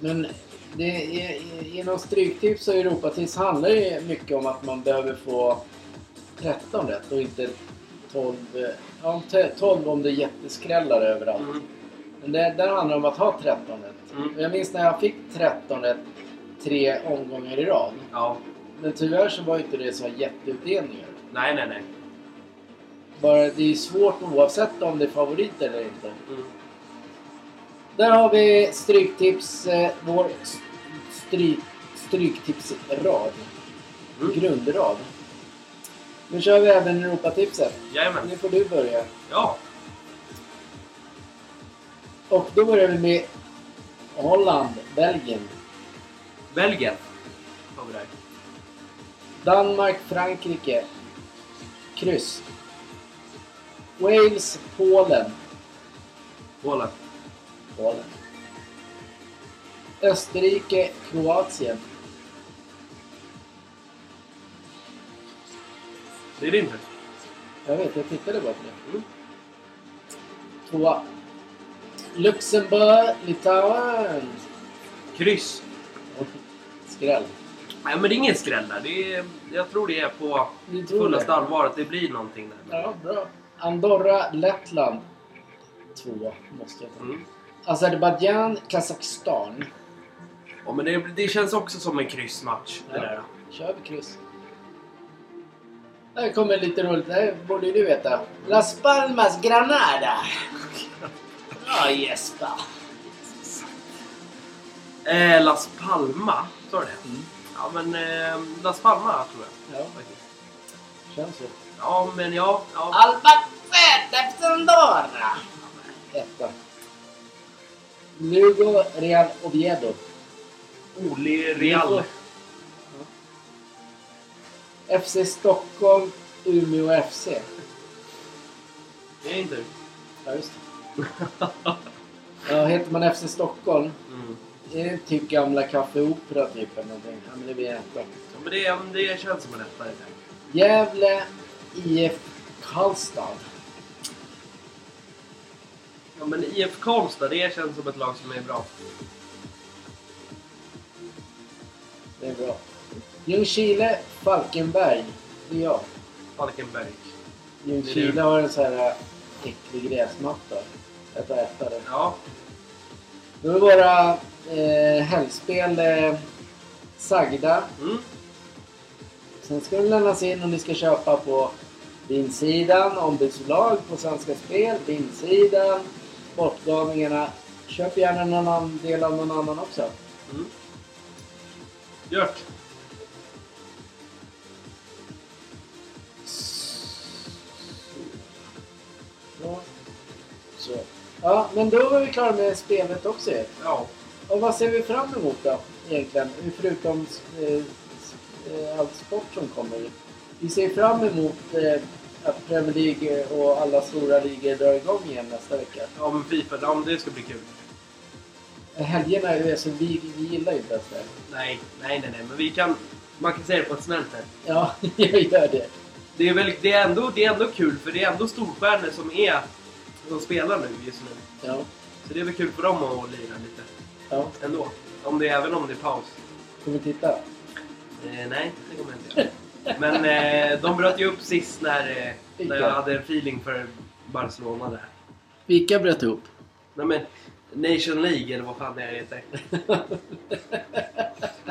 [SPEAKER 2] Men det, är- i- inom Stryktips och Europatips handlar det ju mycket om att man behöver få 13 rätt och inte 12. eh, Ja, om te- 12 om det är jätteskrällar överallt.
[SPEAKER 3] Mm.
[SPEAKER 2] Men det, där handlar det om att ha 13 rätt.
[SPEAKER 3] Mm.
[SPEAKER 2] Och Jag minns när jag fick 13 rätt tre omgångar i rad.
[SPEAKER 3] Ja.
[SPEAKER 2] Men tyvärr så var ju inte det så här jätteutdelningar.
[SPEAKER 3] Nej, nej, nej.
[SPEAKER 2] Bara, det är ju svårt oavsett om det är favorit eller inte.
[SPEAKER 3] Mm.
[SPEAKER 2] Där har vi Stryktips, eh, vår s- stry, Stryktipsrad.
[SPEAKER 3] Mm.
[SPEAKER 2] Grundrad. Nu kör vi även Europatipset.
[SPEAKER 3] Jajamän.
[SPEAKER 2] Nu får du börja.
[SPEAKER 3] Ja.
[SPEAKER 2] Och då börjar vi med Holland, Belgien,
[SPEAKER 3] Belgien. Har vi där.
[SPEAKER 2] Danmark, Frankrike. Kryss. Wales, Polen.
[SPEAKER 3] Polen.
[SPEAKER 2] Polen. Österrike, Kroatien.
[SPEAKER 3] Det är din tur.
[SPEAKER 2] Jag vet, jag tittade bara på det.
[SPEAKER 3] Mm.
[SPEAKER 2] Tvåa. Luxemburg, Litauen.
[SPEAKER 3] Kryss.
[SPEAKER 2] Skräll.
[SPEAKER 3] Nej, men det är ingen skräll där. Det är, jag tror det är på
[SPEAKER 2] Ni tror
[SPEAKER 3] fullaste
[SPEAKER 2] det?
[SPEAKER 3] allvar att det blir någonting där.
[SPEAKER 2] Ja, bra. Andorra, Lettland. Tvåa, måste jag ta.
[SPEAKER 3] Mm.
[SPEAKER 2] Azerbajdzjan, Kazakstan.
[SPEAKER 3] Ja, men det, det känns också som en kryssmatch. Det
[SPEAKER 2] Ja.
[SPEAKER 3] där.
[SPEAKER 2] Kör vi kryss. Där kommer lite roligt. Det här borde ju du veta. Las Palmas, [LAUGHS] Granada. Bra Jesper.
[SPEAKER 3] Eh, Las Palma, sa du det?
[SPEAKER 2] Mm.
[SPEAKER 3] Ja, men eh, Las Palma tror jag.
[SPEAKER 2] Ja,
[SPEAKER 3] faktiskt.
[SPEAKER 2] känns så.
[SPEAKER 3] Ja, men ja. ja.
[SPEAKER 2] Ah! Albacete Sandora. Etta. Lugo, Real Oviedo.
[SPEAKER 3] Oli Real.
[SPEAKER 2] FC Stockholm, Umeå FC.
[SPEAKER 3] Det är inte du.
[SPEAKER 2] Ja, just det. Ja, heter man FC Stockholm,
[SPEAKER 3] Mm.
[SPEAKER 2] är det typ gamla Café Opera typ eller någonting? Ja, men det blir etta.
[SPEAKER 3] Ja, men det, det känns som en etta. det där.
[SPEAKER 2] Gävle, IF Karlstad.
[SPEAKER 3] Ja, men IF Karlstad, det känns som ett lag som är bra.
[SPEAKER 2] Det är bra. Ljungskile, Falkenberg. Det är jag.
[SPEAKER 3] Falkenberg.
[SPEAKER 2] Ljungskile har en sån här äcklig gräsmatta. Jag tar etta där.
[SPEAKER 3] Ja.
[SPEAKER 2] Då är det våra eh, helgspel eh, sagda.
[SPEAKER 3] Mm.
[SPEAKER 2] Sen ska de lämnas in och ni ska köpa på Vinsidan, ombudsbolag på Svenska Spel, Vinsidan, Sportgalningarna. Köp gärna någon annan del av någon annan också.
[SPEAKER 3] Mm. Gjort.
[SPEAKER 2] Ja. Så. Ja, men då var vi klara med spelet också ju.
[SPEAKER 3] Ja.
[SPEAKER 2] Och vad ser vi fram emot då egentligen? Förutom eh, s- eh, all sport som kommer. Vi ser fram emot eh, att Premier League och alla stora ligor drar igång igen nästa vecka.
[SPEAKER 3] Ja, men Fifa. Ja, men det ska bli kul.
[SPEAKER 2] Helgerna är ju så vi, vi gillar ju inte ens det.
[SPEAKER 3] Nej, nej, nej, nej. Men vi kan... Man kan säga det på ett snällt sätt.
[SPEAKER 2] Ja, [LAUGHS] jag gör det.
[SPEAKER 3] Det är, väl, det, är ändå, det är ändå kul, för det är ändå storstjärnor som, är, som spelar nu just nu.
[SPEAKER 2] Ja,
[SPEAKER 3] Så det är väl kul för dem att lira lite
[SPEAKER 2] ja.
[SPEAKER 3] ändå. Om det, även om det är paus.
[SPEAKER 2] Kommer titta.
[SPEAKER 3] Eh, nej, det kommer jag inte göra. Men eh, de bröt ju upp sist när, eh, när jag hade en feeling för Barcelona där.
[SPEAKER 2] Vilka bröt ihop?
[SPEAKER 3] Nej men, Nation League eller vad fan det är det
[SPEAKER 2] [LAUGHS]
[SPEAKER 3] heter.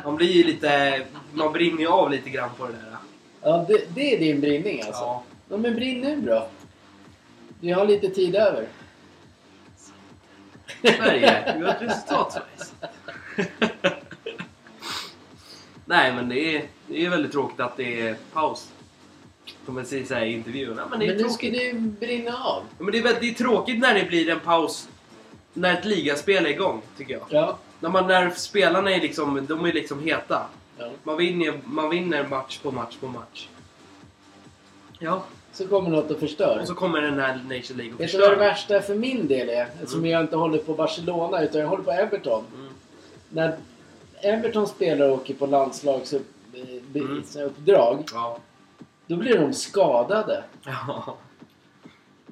[SPEAKER 3] Man blir ju lite... Man brinner ju av lite grann på det där.
[SPEAKER 2] Ja, det, det är din brinning alltså.
[SPEAKER 3] Ja.
[SPEAKER 2] Ja, men brinn nu då. Vi har lite tid över.
[SPEAKER 3] Sverige, vi har ett resultat Sverige. Nej men det är, det är väldigt tråkigt att det är paus. Som jag säger så här i intervjun. Ja, men det är
[SPEAKER 2] Men nu
[SPEAKER 3] tråkigt.
[SPEAKER 2] ska det ju brinna av.
[SPEAKER 3] Ja, men det, är, väl- det är tråkigt när det blir en paus när ett ligaspel är igång, tycker jag.
[SPEAKER 2] Ja.
[SPEAKER 3] När, man, när spelarna är liksom, de är liksom heta.
[SPEAKER 2] ja.
[SPEAKER 3] Man vinner, man vinner match på match på match. Ja,
[SPEAKER 2] Så kommer något att förstöra.
[SPEAKER 3] och så kommer den här Nation League och
[SPEAKER 2] Vet du vad det
[SPEAKER 3] förstör.
[SPEAKER 2] värsta för min del är? Eftersom jag inte håller på Barcelona utan jag håller på Everton.
[SPEAKER 3] Mm.
[SPEAKER 2] När Everton spelare åker på
[SPEAKER 3] Mm.
[SPEAKER 2] landslagsuppdrag, [LAUGHS]
[SPEAKER 3] Ja.
[SPEAKER 2] då blir de skadade.
[SPEAKER 3] Ja.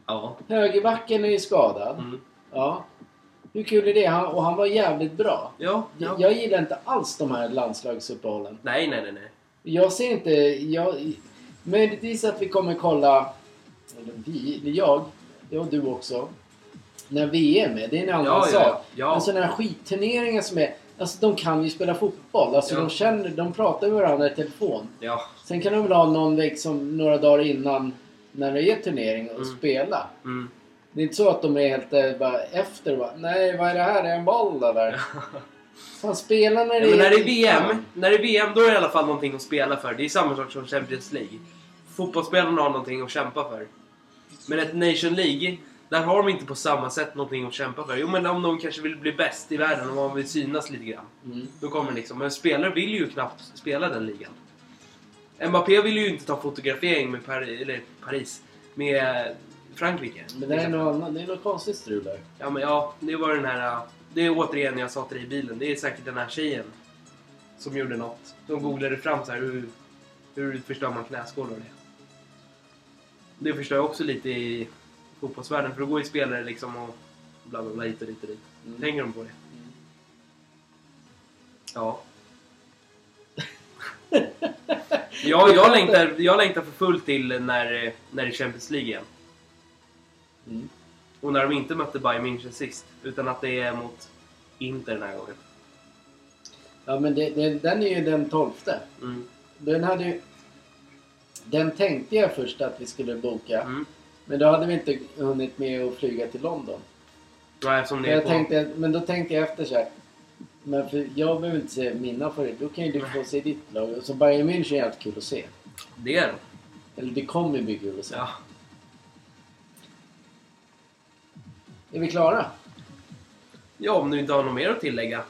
[SPEAKER 3] Ja.
[SPEAKER 2] Högerbacken är ju skadad.
[SPEAKER 3] Mm.
[SPEAKER 2] Ja. Hur kul är det? Han, och han var jävligt bra.
[SPEAKER 3] Ja. ja.
[SPEAKER 2] Jag gillar inte alls de här landslagsuppehållen.
[SPEAKER 3] Nej, nej, nej, nej.
[SPEAKER 2] Jag ser inte... Jag, möjligtvis att vi kommer kolla... Eller vi, eller jag. Ja, du också. När VM är, det är en annan
[SPEAKER 3] Ja, ja,
[SPEAKER 2] sak.
[SPEAKER 3] ja.
[SPEAKER 2] Men sådana här skitturneringar som är... Alltså de kan ju spela fotboll. Alltså
[SPEAKER 3] Ja.
[SPEAKER 2] de känner, de pratar med varandra i telefon.
[SPEAKER 3] Ja.
[SPEAKER 2] Sen kan de väl ha någon liksom några dagar innan när det är turnering och
[SPEAKER 3] Mm.
[SPEAKER 2] spela.
[SPEAKER 3] Mm.
[SPEAKER 2] Det är inte så att de är helt eh, bara efter och bara, Nej, vad är det här? Är det en boll eller? Fan, spela när det
[SPEAKER 3] Ja, men när det är
[SPEAKER 2] Ja.
[SPEAKER 3] VM, när det är VM då är det i alla fall någonting att spela för. Det är samma sak som Champions League. Fotbollsspelarna har någonting att kämpa för. Men ett Nation League, där har de inte på samma sätt någonting att kämpa för. Jo men om de kanske vill bli bäst i världen, om de vill synas lite grann.
[SPEAKER 2] Mm.
[SPEAKER 3] Då kommer det liksom. Men spelare vill ju knappt spela den ligan. Mbappé vill ju inte ta fotografering med Pari, eller Paris, med Frankrike.
[SPEAKER 2] Men det här är något annat. Det är något konstigt strul där.
[SPEAKER 3] Ja men ja, det var den här... äh, Det är återigen jag sa till dig i bilen. Det är säkert den här tjejen som gjorde något. De googlade fram så här hur, hur förstör man knäskålar och det. Det förstör jag också lite i fotbollsvärlden för då går ju spelare liksom och bla bla bla hit och dit och dit.
[SPEAKER 2] Mm.
[SPEAKER 3] Tänker de på det? Ja. ja, jag längtar, jag längtar för fullt till när, eh, när det är Champions League igen.
[SPEAKER 2] Mm.
[SPEAKER 3] Och när de inte mötte Bayern München sist. Utan att det är mot Inter den här gången.
[SPEAKER 2] Ja, men det, det, den är ju den tolfte.
[SPEAKER 3] Mm.
[SPEAKER 2] Den hade ju... Den tänkte jag först att vi skulle boka.
[SPEAKER 3] Mm.
[SPEAKER 2] Men då hade vi inte hunnit med att flyga till London.
[SPEAKER 3] Nej, som det
[SPEAKER 2] Men,
[SPEAKER 3] är
[SPEAKER 2] jag
[SPEAKER 3] på.
[SPEAKER 2] tänkte, men då tänkte jag efter så här. Men för jag behöver inte se mina favoriter. Då kan ju du få se ditt lag. Och så Bayern München är alltid kul att se.
[SPEAKER 3] Det är de.
[SPEAKER 2] Eller det kommer bli kul att se.
[SPEAKER 3] Ja.
[SPEAKER 2] Är vi klara?
[SPEAKER 3] ja, om du inte har något mer att tillägga.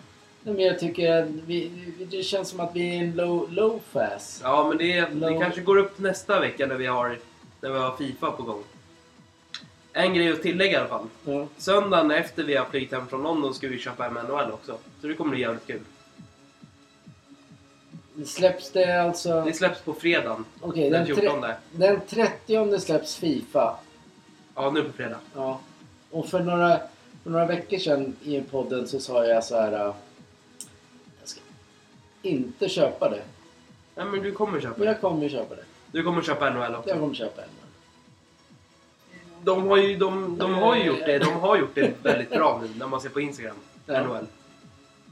[SPEAKER 2] Nej, men jag tycker att vi, vi- det känns som att vi är en low, low fast.
[SPEAKER 3] Ja, men det, det
[SPEAKER 2] No.
[SPEAKER 3] kanske går upp nästa vecka när vi, har, när vi har Fifa på gång. En grej att tillägga i alla fall.
[SPEAKER 2] Ja.
[SPEAKER 3] Söndagen efter vi har flygit hem från London ska vi köpa hem NHL också. Så det kommer bli jävligt kul.
[SPEAKER 2] Släpps det alltså...
[SPEAKER 3] Det släpps på fredagen.
[SPEAKER 2] Okej,
[SPEAKER 3] den
[SPEAKER 2] den, tre-
[SPEAKER 3] 14.
[SPEAKER 2] den 30 släpps Fifa.
[SPEAKER 3] Ja, nu på fredag.
[SPEAKER 2] Ja. Och för några, för några veckor sedan i podden så sa jag så här... äh, Jag ska inte köpa det.
[SPEAKER 3] Nej, men du kommer köpa
[SPEAKER 2] Men
[SPEAKER 3] det.
[SPEAKER 2] jag kommer köpa det.
[SPEAKER 3] Du kommer köpa NHL också.
[SPEAKER 2] Jag kommer köpa en.
[SPEAKER 3] De har, ju, de, de har ju gjort det De har gjort det väldigt bra nu när man ser på Instagram.
[SPEAKER 2] Ja.
[SPEAKER 3] NHL.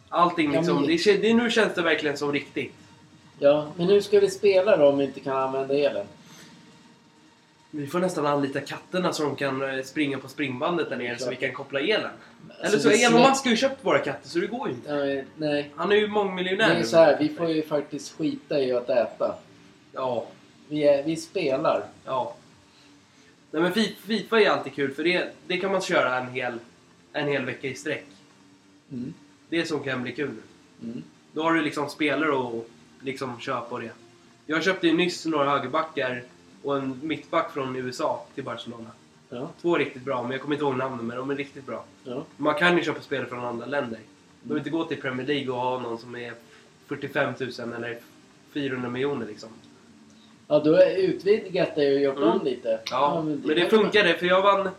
[SPEAKER 3] Allting
[SPEAKER 2] Ja,
[SPEAKER 3] liksom,
[SPEAKER 2] men-
[SPEAKER 3] det, kän- det, nu känns det verkligen som riktigt.
[SPEAKER 2] Ja, men hur ska vi spela då om vi inte kan använda elen?
[SPEAKER 3] Vi får nästan anlita katterna så de kan eh, springa på springbandet där nere så vi kan koppla elen. Eller så,
[SPEAKER 2] alltså, det är
[SPEAKER 3] Elon
[SPEAKER 2] slä-
[SPEAKER 3] Musk har ju köpt våra katter så det går ju inte.
[SPEAKER 2] Ja, men, nej.
[SPEAKER 3] Han är ju
[SPEAKER 2] Det
[SPEAKER 3] mångmiljonär
[SPEAKER 2] är
[SPEAKER 3] nu.
[SPEAKER 2] så här, vi får ju faktiskt skita i att äta.
[SPEAKER 3] Ja,
[SPEAKER 2] Vi, är, vi spelar.
[SPEAKER 3] ja. Nej men Fi- Fifa är alltid kul för det, det kan man köra en hel, en hel vecka i sträck.
[SPEAKER 2] Mm.
[SPEAKER 3] Det som kan bli kul nu.
[SPEAKER 2] Mm.
[SPEAKER 3] Då har du liksom spelare och liksom köpa och det. Jag köpte ju nyss några högerbackar och en mittback från USA till Barcelona.
[SPEAKER 2] Ja,
[SPEAKER 3] Två riktigt bra, men jag kommer inte ihåg namnen, men de är riktigt bra.
[SPEAKER 2] ja.
[SPEAKER 3] Man kan ju köpa spelare från andra länder. De
[SPEAKER 2] Mm.
[SPEAKER 3] vill inte gå till Premier League och ha någon som är 45 000 eller 400 miljoner liksom.
[SPEAKER 2] ja du har utvidgat det och gjort
[SPEAKER 3] Mm.
[SPEAKER 2] om lite.
[SPEAKER 3] Ja, men det funkade för jag vann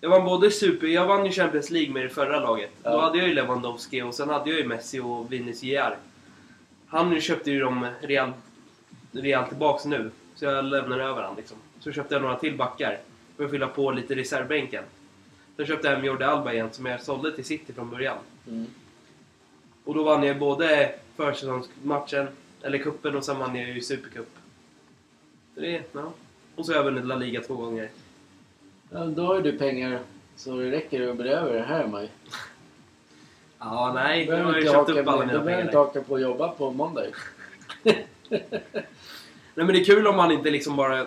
[SPEAKER 3] jag vann både super, jag vann ju Champions League med det förra laget. Då
[SPEAKER 2] Ja.
[SPEAKER 3] hade jag ju Lewandowski och sen hade jag ju Messi och Vinicius Jr. Han nu köpte ju dem Real, Real tillbaks nu. Så jag lämnade över han liksom. Så köpte jag några till backar för att fylla på lite reservbänken. Sen köpte jag hem Jordi Alba igen som jag sålde till City från början.
[SPEAKER 2] Mm.
[SPEAKER 3] Och då vann jag både försäsongsmatchen, eller kuppen och sen vann jag ju Supercup. Så det, ja. Och så har jag vunnit La Liga två gånger.
[SPEAKER 2] Ja, då har ju du pengar så det räcker och blir över här ju.
[SPEAKER 3] Ja, nej.
[SPEAKER 2] Du
[SPEAKER 3] Nu
[SPEAKER 2] behöver
[SPEAKER 3] har jag
[SPEAKER 2] inte
[SPEAKER 3] köpt
[SPEAKER 2] haka
[SPEAKER 3] upp
[SPEAKER 2] på-
[SPEAKER 3] alla mina
[SPEAKER 2] du behöver
[SPEAKER 3] pengar.
[SPEAKER 2] inte haka på och jobba på måndag ju.
[SPEAKER 3] Nej, men det är kul om man inte liksom bara...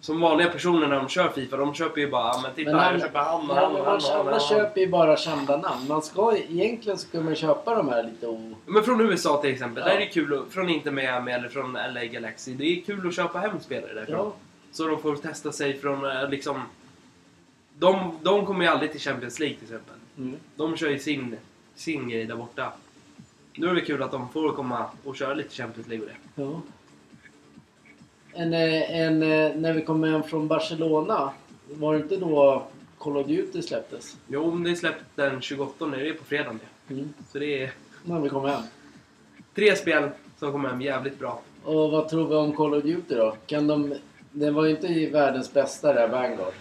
[SPEAKER 3] Som vanliga personer när de kör Fifa, de köper ju bara "Ah, men titta
[SPEAKER 2] Men
[SPEAKER 3] här,
[SPEAKER 2] alla-
[SPEAKER 3] jag köper
[SPEAKER 2] Ja,
[SPEAKER 3] han och han
[SPEAKER 2] men man,
[SPEAKER 3] och han och han.
[SPEAKER 2] man
[SPEAKER 3] och han."
[SPEAKER 2] köper ju bara kända namn. Man ska, egentligen ska man köpa de här lite o...
[SPEAKER 3] Men från USA till exempel,
[SPEAKER 2] Ja.
[SPEAKER 3] där är det kul att, från inte Miami eller från LA Galaxy, det är kul att köpa hem spelare därifrån.
[SPEAKER 2] Ja.
[SPEAKER 3] Så de får testa sig från eh, liksom... De, de kommer ju aldrig till Champions League till exempel.
[SPEAKER 2] Mm.
[SPEAKER 3] De kör ju sin, sin grej där borta. Nu är det kul att de får komma och köra lite Champions League och det.
[SPEAKER 2] Ja. En, eh, en, eh, när vi kom hem från Barcelona, var det inte då Call of Duty släpptes?
[SPEAKER 3] Jo, men det är släppt den 28, det är på fredagen det.
[SPEAKER 2] Mm.
[SPEAKER 3] Så det är
[SPEAKER 2] När vi kom hem.
[SPEAKER 3] tre spel som kommer hem jävligt bra.
[SPEAKER 2] Och vad tror vi om Call of Duty då? Kan de... Det var ju inte i världens bästa där, Vanguard.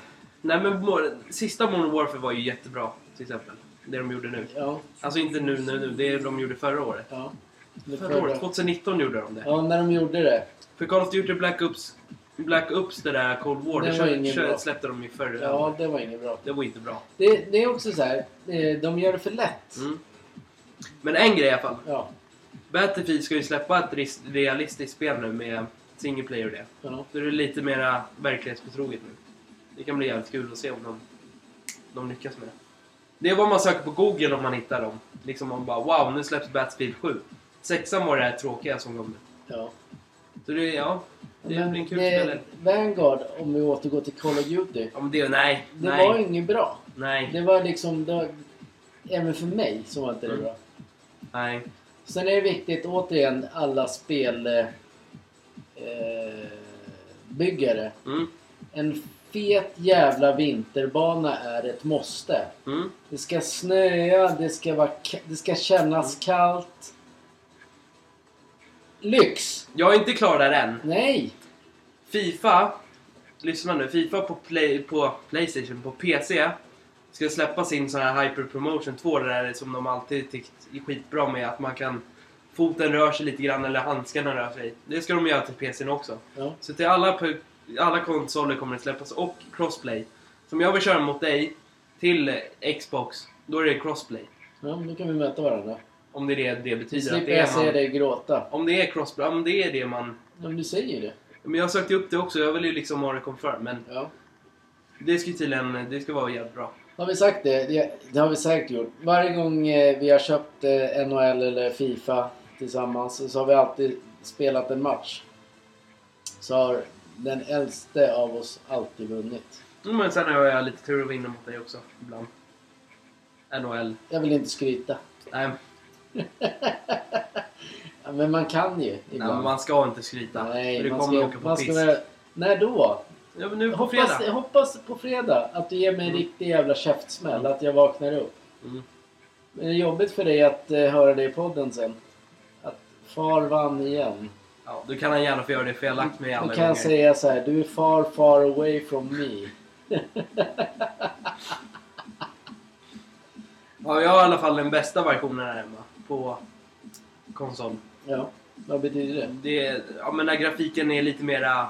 [SPEAKER 3] Nej men mo- sista Modern Warfare var ju jättebra till exempel. Det de gjorde nu.
[SPEAKER 2] Ja,
[SPEAKER 3] Alltså inte nu, nu, nu. Det de gjorde förra året.
[SPEAKER 2] ja. Det
[SPEAKER 3] Förra året? 2019 gjorde de det.
[SPEAKER 2] Ja, när de gjorde det.
[SPEAKER 3] För Call of Duty Black Ops, Black Ops det där Cold War,
[SPEAKER 2] Det
[SPEAKER 3] det,
[SPEAKER 2] var
[SPEAKER 3] kö-
[SPEAKER 2] ingen
[SPEAKER 3] kö-
[SPEAKER 2] bra.
[SPEAKER 3] släppte de ju förra
[SPEAKER 2] Ja, det var inget bra.
[SPEAKER 3] Det var inte bra.
[SPEAKER 2] Det, det är också så här, eh, de gör det för lätt.
[SPEAKER 3] Mm. Men en grej i alla fall.
[SPEAKER 2] Ja,
[SPEAKER 3] Battlefield ska ju släppa ett ris- realistiskt spel nu med single player och det.
[SPEAKER 2] ja.
[SPEAKER 3] Så det är lite mera verklighetsbetroget nu. Det kan bli jävligt kul att se om de, de lyckas med det. Det är vad man söker på Google om man hittar dem. Liksom man bara wow, nu släpps Battlefield 7. Sexan var det här tråkiga som kom nu.
[SPEAKER 2] ja.
[SPEAKER 3] Så det, ja, det
[SPEAKER 2] Men
[SPEAKER 3] blir en kul
[SPEAKER 2] det-
[SPEAKER 3] spelare.
[SPEAKER 2] Vanguard, om vi återgår till Call of Duty.
[SPEAKER 3] Ja men det, nej,
[SPEAKER 2] Det
[SPEAKER 3] nej,
[SPEAKER 2] var inget bra.
[SPEAKER 3] nej,
[SPEAKER 2] Det var liksom... Det var, även för mig så var inte det
[SPEAKER 3] Mm.
[SPEAKER 2] bra.
[SPEAKER 3] nej.
[SPEAKER 2] Sen är det viktigt, återigen, alla spelbyggare. Eh, byggare.
[SPEAKER 3] Mm,
[SPEAKER 2] en fet jävla vinterbana är ett måste.
[SPEAKER 3] mm.
[SPEAKER 2] Det ska snöa, det ska, vara, ka- det ska kännas kallt. Lyx!
[SPEAKER 3] Jag är inte klar där än.
[SPEAKER 2] Nej!
[SPEAKER 3] Fifa, lyssna nu, Fifa på, play, på Playstation, på PC ska släppa sin sån här Hyper Promotion 2 det där som de alltid tyckt är skitbra med att man kan foten rör sig lite grann eller handskarna rör sig. Det ska de göra till PCn också.
[SPEAKER 2] Ja.
[SPEAKER 3] Så till alla, pu- alla konsoler kommer det släppas och Crossplay. Som jag vill köra mot dig till eh, Xbox, då är det Crossplay.
[SPEAKER 2] ja, nu kan vi möta varandra.
[SPEAKER 3] Om det är det det
[SPEAKER 2] Nu
[SPEAKER 3] betyder. Att
[SPEAKER 2] slipper
[SPEAKER 3] det
[SPEAKER 2] jag
[SPEAKER 3] är
[SPEAKER 2] se
[SPEAKER 3] man,
[SPEAKER 2] dig gråta.
[SPEAKER 3] om det är Crossplay, om det är det man...
[SPEAKER 2] Ja, men du säger ju det.
[SPEAKER 3] Men jag sökte upp det också, jag vill ju liksom ha det confirm. Men
[SPEAKER 2] Ja.
[SPEAKER 3] Det ska tydligen, det ska vara jävligt bra.
[SPEAKER 2] Har vi sagt det? det? Det har vi säkert gjort. Varje gång eh, vi har köpt eh, NHL eller Fifa tillsammans så har vi alltid spelat en match. Så har den äldste av oss alltid vunnit.
[SPEAKER 3] Mm, Men sen har jag lite tur att vinna mot dig också, ibland. NHL.
[SPEAKER 2] Jag vill inte skryta.
[SPEAKER 3] Nej,
[SPEAKER 2] Ja, Men man kan ju
[SPEAKER 3] nej men
[SPEAKER 2] ibland.
[SPEAKER 3] man ska inte skryta.
[SPEAKER 2] Nej,
[SPEAKER 3] för du
[SPEAKER 2] man
[SPEAKER 3] kommer
[SPEAKER 2] ska,
[SPEAKER 3] åka på
[SPEAKER 2] man ska
[SPEAKER 3] piss.
[SPEAKER 2] vara... När då?
[SPEAKER 3] Ja, men nu
[SPEAKER 2] Jag
[SPEAKER 3] på
[SPEAKER 2] hoppas,
[SPEAKER 3] fredag.
[SPEAKER 2] jag hoppas på fredag att du ger mig en
[SPEAKER 3] Mm.
[SPEAKER 2] riktig jävla käftsmäll, att jag vaknar upp.
[SPEAKER 3] Mm.
[SPEAKER 2] Men det är jobbigt för dig att eh, höra det i podden sen. Att far vann igen.
[SPEAKER 3] Ja, du kan han gärna få göra det, för jag har lagt mig alla
[SPEAKER 2] Då kan jag
[SPEAKER 3] gånger.
[SPEAKER 2] säga så här, du är far far away from
[SPEAKER 3] [LAUGHS]
[SPEAKER 2] me.
[SPEAKER 3] Ja, jag har i alla fall den bästa versionen här hemma. På konsol.
[SPEAKER 2] Ja, vad betyder det?
[SPEAKER 3] Det är, ja men när grafiken är lite mera...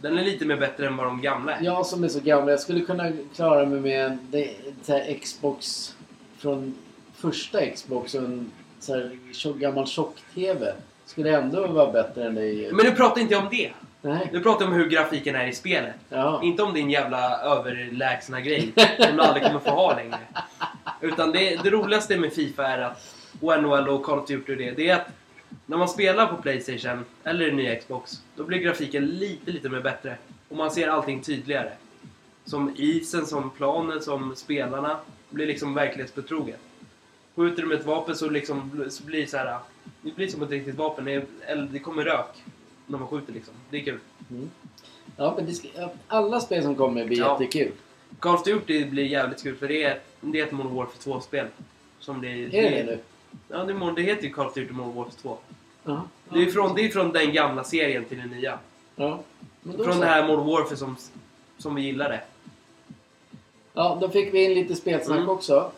[SPEAKER 3] Den är lite mer bättre än vad de gamla är.
[SPEAKER 2] Jag som är så gammal, jag skulle kunna klara mig med en det- så här Xbox från första Xbox och en så här tjock- gammal tjock-TV. Skulle ändå vara bättre än dig.
[SPEAKER 3] Men nu pratar inte jag om det.
[SPEAKER 2] Nej.
[SPEAKER 3] Nu pratar jag om hur grafiken är i spelet.
[SPEAKER 2] Ja.
[SPEAKER 3] Inte om din jävla överlägsna grej som du aldrig kommer få ha längre. Utan det, det roligaste med Fifa är att, och NHL och Call of Duty och det, det är att när man spelar på Playstation eller i nya Xbox, då blir grafiken lite, lite mer bättre. Och man ser allting tydligare. Som isen, som planen, som spelarna. Det blir liksom verklighetsbetroget. Skjuter du med ett vapen så, liksom, bl- så blir det så här, det blir som ett riktigt vapen. Det, är- eller det kommer rök när man skjuter liksom. Det är kul.
[SPEAKER 2] Mm. Ja, men det ska, ja, alla spel som kommer blir
[SPEAKER 3] Ja.
[SPEAKER 2] jättekul.
[SPEAKER 3] Call of Duty blir jävligt kul för det är, det är ett Modern Warfare 2-spel. Som det,
[SPEAKER 2] Är det det nu?
[SPEAKER 3] Ja, det, är Modern- det heter ju Call of Duty Modern Warfare 2.
[SPEAKER 2] Ja.
[SPEAKER 3] Det, är från, det är från den gamla serien till den nya.
[SPEAKER 2] Ja. Men då,
[SPEAKER 3] Från
[SPEAKER 2] så.
[SPEAKER 3] det här Modern Warfare som, som vi gillade.
[SPEAKER 2] Ja, då fick vi in lite spelsnack
[SPEAKER 3] Mm.
[SPEAKER 2] också.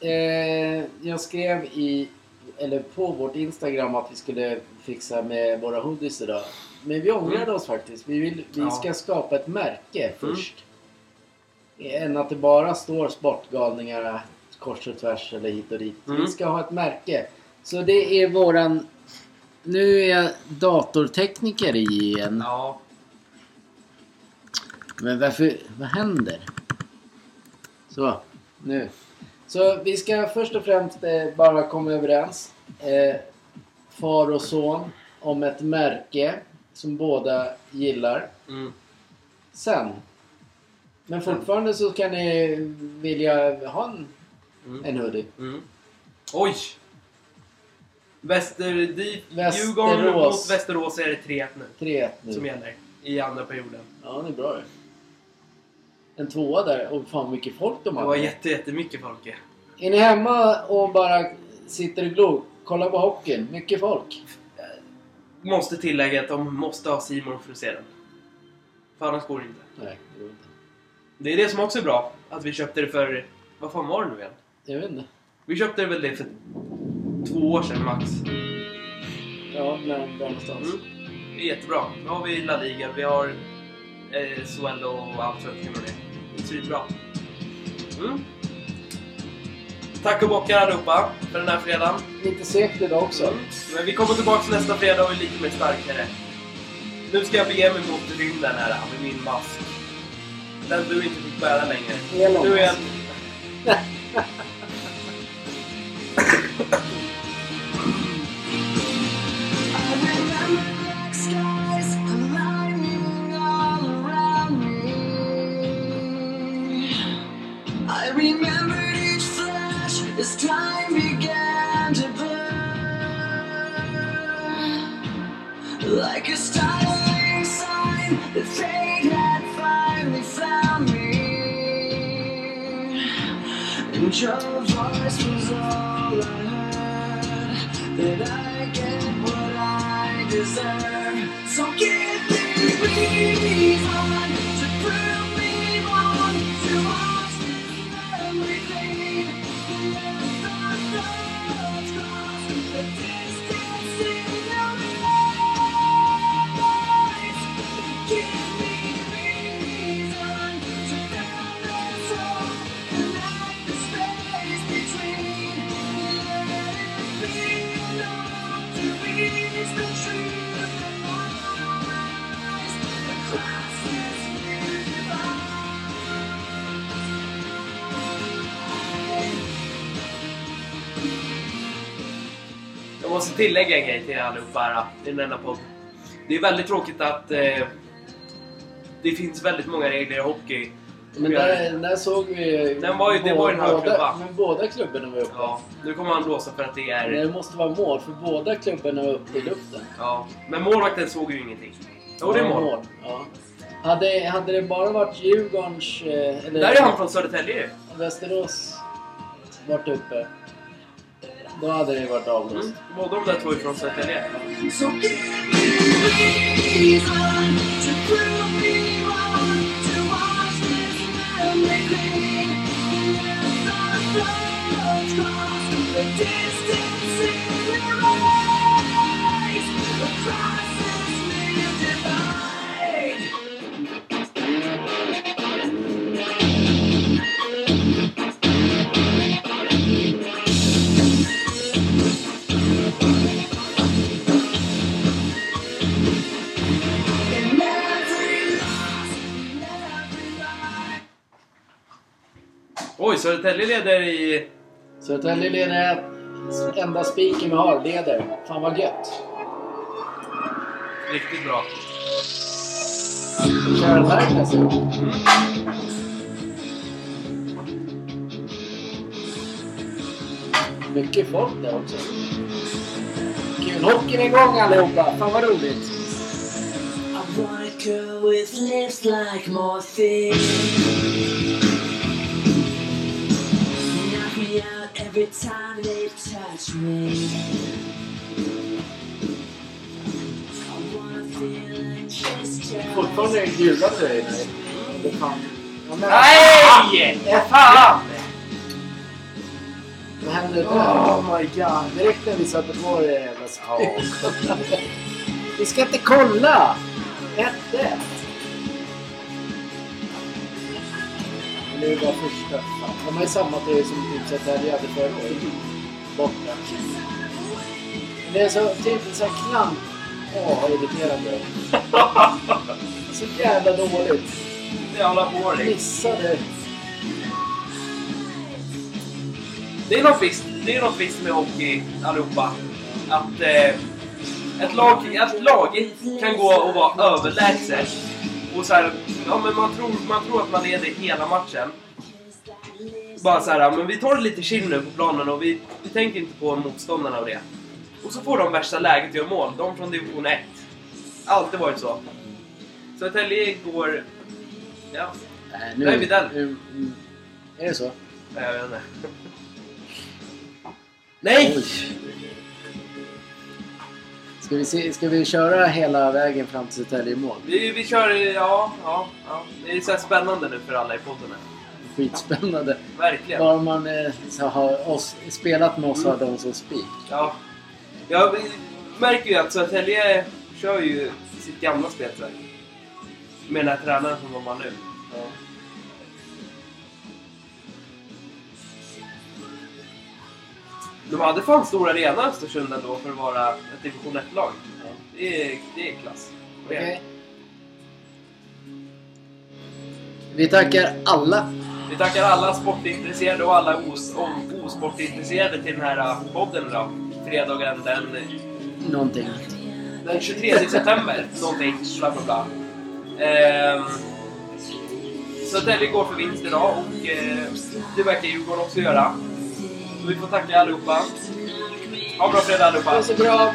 [SPEAKER 2] Eh, jag skrev i, eller på vårt Instagram att vi skulle fixa med våra hoodies idag. Men vi ångrade oss faktiskt. Vi, vill, vi
[SPEAKER 3] Mm. Ja.
[SPEAKER 2] ska skapa ett märke
[SPEAKER 3] Mm.
[SPEAKER 2] först. än att det bara står sportgalningar kors och tvärs eller hit och dit.
[SPEAKER 3] Mm.
[SPEAKER 2] Vi ska ha ett märke. Så det är våran... Nu är jag datortekniker igen.
[SPEAKER 3] Ja,
[SPEAKER 2] Men varför... Vad händer? Så, nu. Så vi ska först och främst eh, bara komma överens. Eh, far och son om ett märke som båda gillar.
[SPEAKER 3] mm.
[SPEAKER 2] Sen. Men fortfarande så kan ni vilja ha en,
[SPEAKER 3] Mm.
[SPEAKER 2] en hoodie.
[SPEAKER 3] Mm. Oj! Västerdi,
[SPEAKER 2] Västerås. Mm.
[SPEAKER 3] Djurgården mot Västerås är det 3-1 nu
[SPEAKER 2] 3 nu.
[SPEAKER 3] som gäller i andra perioden.
[SPEAKER 2] Ja, det är bra det. En tvåa där. Och fan mycket folk de
[SPEAKER 3] Det
[SPEAKER 2] har.
[SPEAKER 3] var jätte, jättemycket folk. ja.
[SPEAKER 2] Är ni hemma och bara sitter och glor? Kolla på hockeyn. Mycket folk.
[SPEAKER 3] Måste tillägga att de måste ha Simon för att se den. För annars går det inte.
[SPEAKER 2] Nej, det går inte.
[SPEAKER 3] Det är det som också är bra. Att vi köpte det för... Vad fan var det nu igen?
[SPEAKER 2] Jag vet inte.
[SPEAKER 3] Vi köpte väl det för två år sedan max.
[SPEAKER 2] Ja, när, där någonstans.
[SPEAKER 3] Mm. Det är jättebra. Nu har vi La Liga, vi har eh, SHL och Allsvenskan och det. Det är svinbra. Mm. Tack och bockar allihopa för den här fredagen.
[SPEAKER 2] Lite segt idag också.
[SPEAKER 3] Men vi kommer tillbaka nästa fredag och är lite mer starkare. Nu ska jag bege mig mot rymden här med min mask. Den du inte fick bära längre.
[SPEAKER 2] Elon
[SPEAKER 3] Nu är jag...
[SPEAKER 2] Musk.
[SPEAKER 4] I remembered each flash as time began to burn. Like a startling sign that fate had finally found me. And your voice was all I heard. That I get what I deserve. So give me reason to prove me wrong. To watch this lonely thing. The distance in your eyes. Give me reason to feel this hope and let the space between. Let it be enough to reach the truth that lies across this universe.
[SPEAKER 3] Jag måste tillägga en grej till er allihopa här i den här podden. Det är väldigt tråkigt att eh, det finns väldigt många regler i hockey.
[SPEAKER 2] Men där, där såg vi...
[SPEAKER 3] Den var ju- det var ju en
[SPEAKER 2] båda-
[SPEAKER 3] högklubba.
[SPEAKER 2] Men båda klubborna var uppe.
[SPEAKER 3] Ja, nu kommer han blåsa för att det
[SPEAKER 2] Men
[SPEAKER 3] är...
[SPEAKER 2] Det måste vara mål, för båda klubborna var uppe i luften.
[SPEAKER 3] Ja. Men målvakten såg ju ingenting. Jo, det är mål.
[SPEAKER 2] Ja. Hade, hade det bara varit Djurgårdens... eh, Eller
[SPEAKER 3] Där är han från Södertälje ju.
[SPEAKER 2] Västerås varit uppe. Då hade det varit avblåst.
[SPEAKER 3] Mm. Båda de där två är från Södertälje.
[SPEAKER 4] So give me reason to prove me wrong, to watch this memory fade. As the clouds cross the distance in your eyes, across this mere divide. In every loss, in every lie.
[SPEAKER 3] Oj, Södertälje leder i...
[SPEAKER 2] Södertälje leder ett- enda spiken vi har leder. Fan vad gött.
[SPEAKER 3] Riktigt bra.
[SPEAKER 2] Kör den här klassen.
[SPEAKER 3] Mm.
[SPEAKER 2] Mycket folk där också. Kul. Hockeyn är igång allihopa. Fan vad roligt.
[SPEAKER 4] I want a girl with lips like morphine. Knock me out every time they touch me. I wanna feel a kiss just
[SPEAKER 2] Fortfarande är det ljudande där inne. Det är fan- Ja, men-
[SPEAKER 3] Nej! Fan!
[SPEAKER 2] Vad händer där?
[SPEAKER 3] Oh my god.
[SPEAKER 2] Direkt när vi satte på det jävla Vi ska inte kolla! 1-1. det var första. Fan, De har ju samma tröja som typ Södertälje hade förra året. Borta. Det är så typ så här klant. Åh, vad [LAUGHS] irriterande. Så jävla dåligt.
[SPEAKER 3] Jävla boring.
[SPEAKER 2] Missade.
[SPEAKER 3] Det är något visst, det är något visst med hockey allihopa. Att eh, ett, lag, ett lag kan gå och vara överlägset. Och så här, ja, men man, tror, man tror att man leder hela matchen. Bara så här, ja, men vi tar det lite chill nu på planen och vi, vi tänker inte på motståndarna och det. Och så får de värsta läget att göra mål. De från division 1. Alltid varit så. Södertälje går... Ja,
[SPEAKER 2] Nej,
[SPEAKER 3] Där är vi där.
[SPEAKER 2] nu- mm. Är det så?
[SPEAKER 3] nej, jag vet inte. Nej!
[SPEAKER 2] Ska vi, se, ska vi köra hela vägen fram till Södertälje i mål?
[SPEAKER 3] Vi, vi kör, ja, ja, ja. Det är så här spännande nu för alla i podden. här.
[SPEAKER 2] Skitspännande.
[SPEAKER 3] Verkligen.
[SPEAKER 2] Bara man eh, så har oss, spelat med oss har de som spik.
[SPEAKER 3] Ja. Jag märker ju att Södertälje kör ju sitt gamla spel så här. Med den här tränaren som de har nu. Ja. De hade fan stor arena Östersund ändå för att vara ett division 1-lag. Det, är, det är klass. Det är-
[SPEAKER 2] Okej. Vi tackar alla.
[SPEAKER 3] Vi tackar alla sportintresserade och alla os- och osportintresserade till den här eh, podden idag. Fredagen den,
[SPEAKER 2] Någonting.
[SPEAKER 3] den 23 september. Någonting, bla bla bla. Ehm, Södertälje går för vinst idag och eh, det verkar Djurgården också göra. Så vi får tacka allihopa. Ha en bra fredag allihopa.
[SPEAKER 2] Ha det så bra.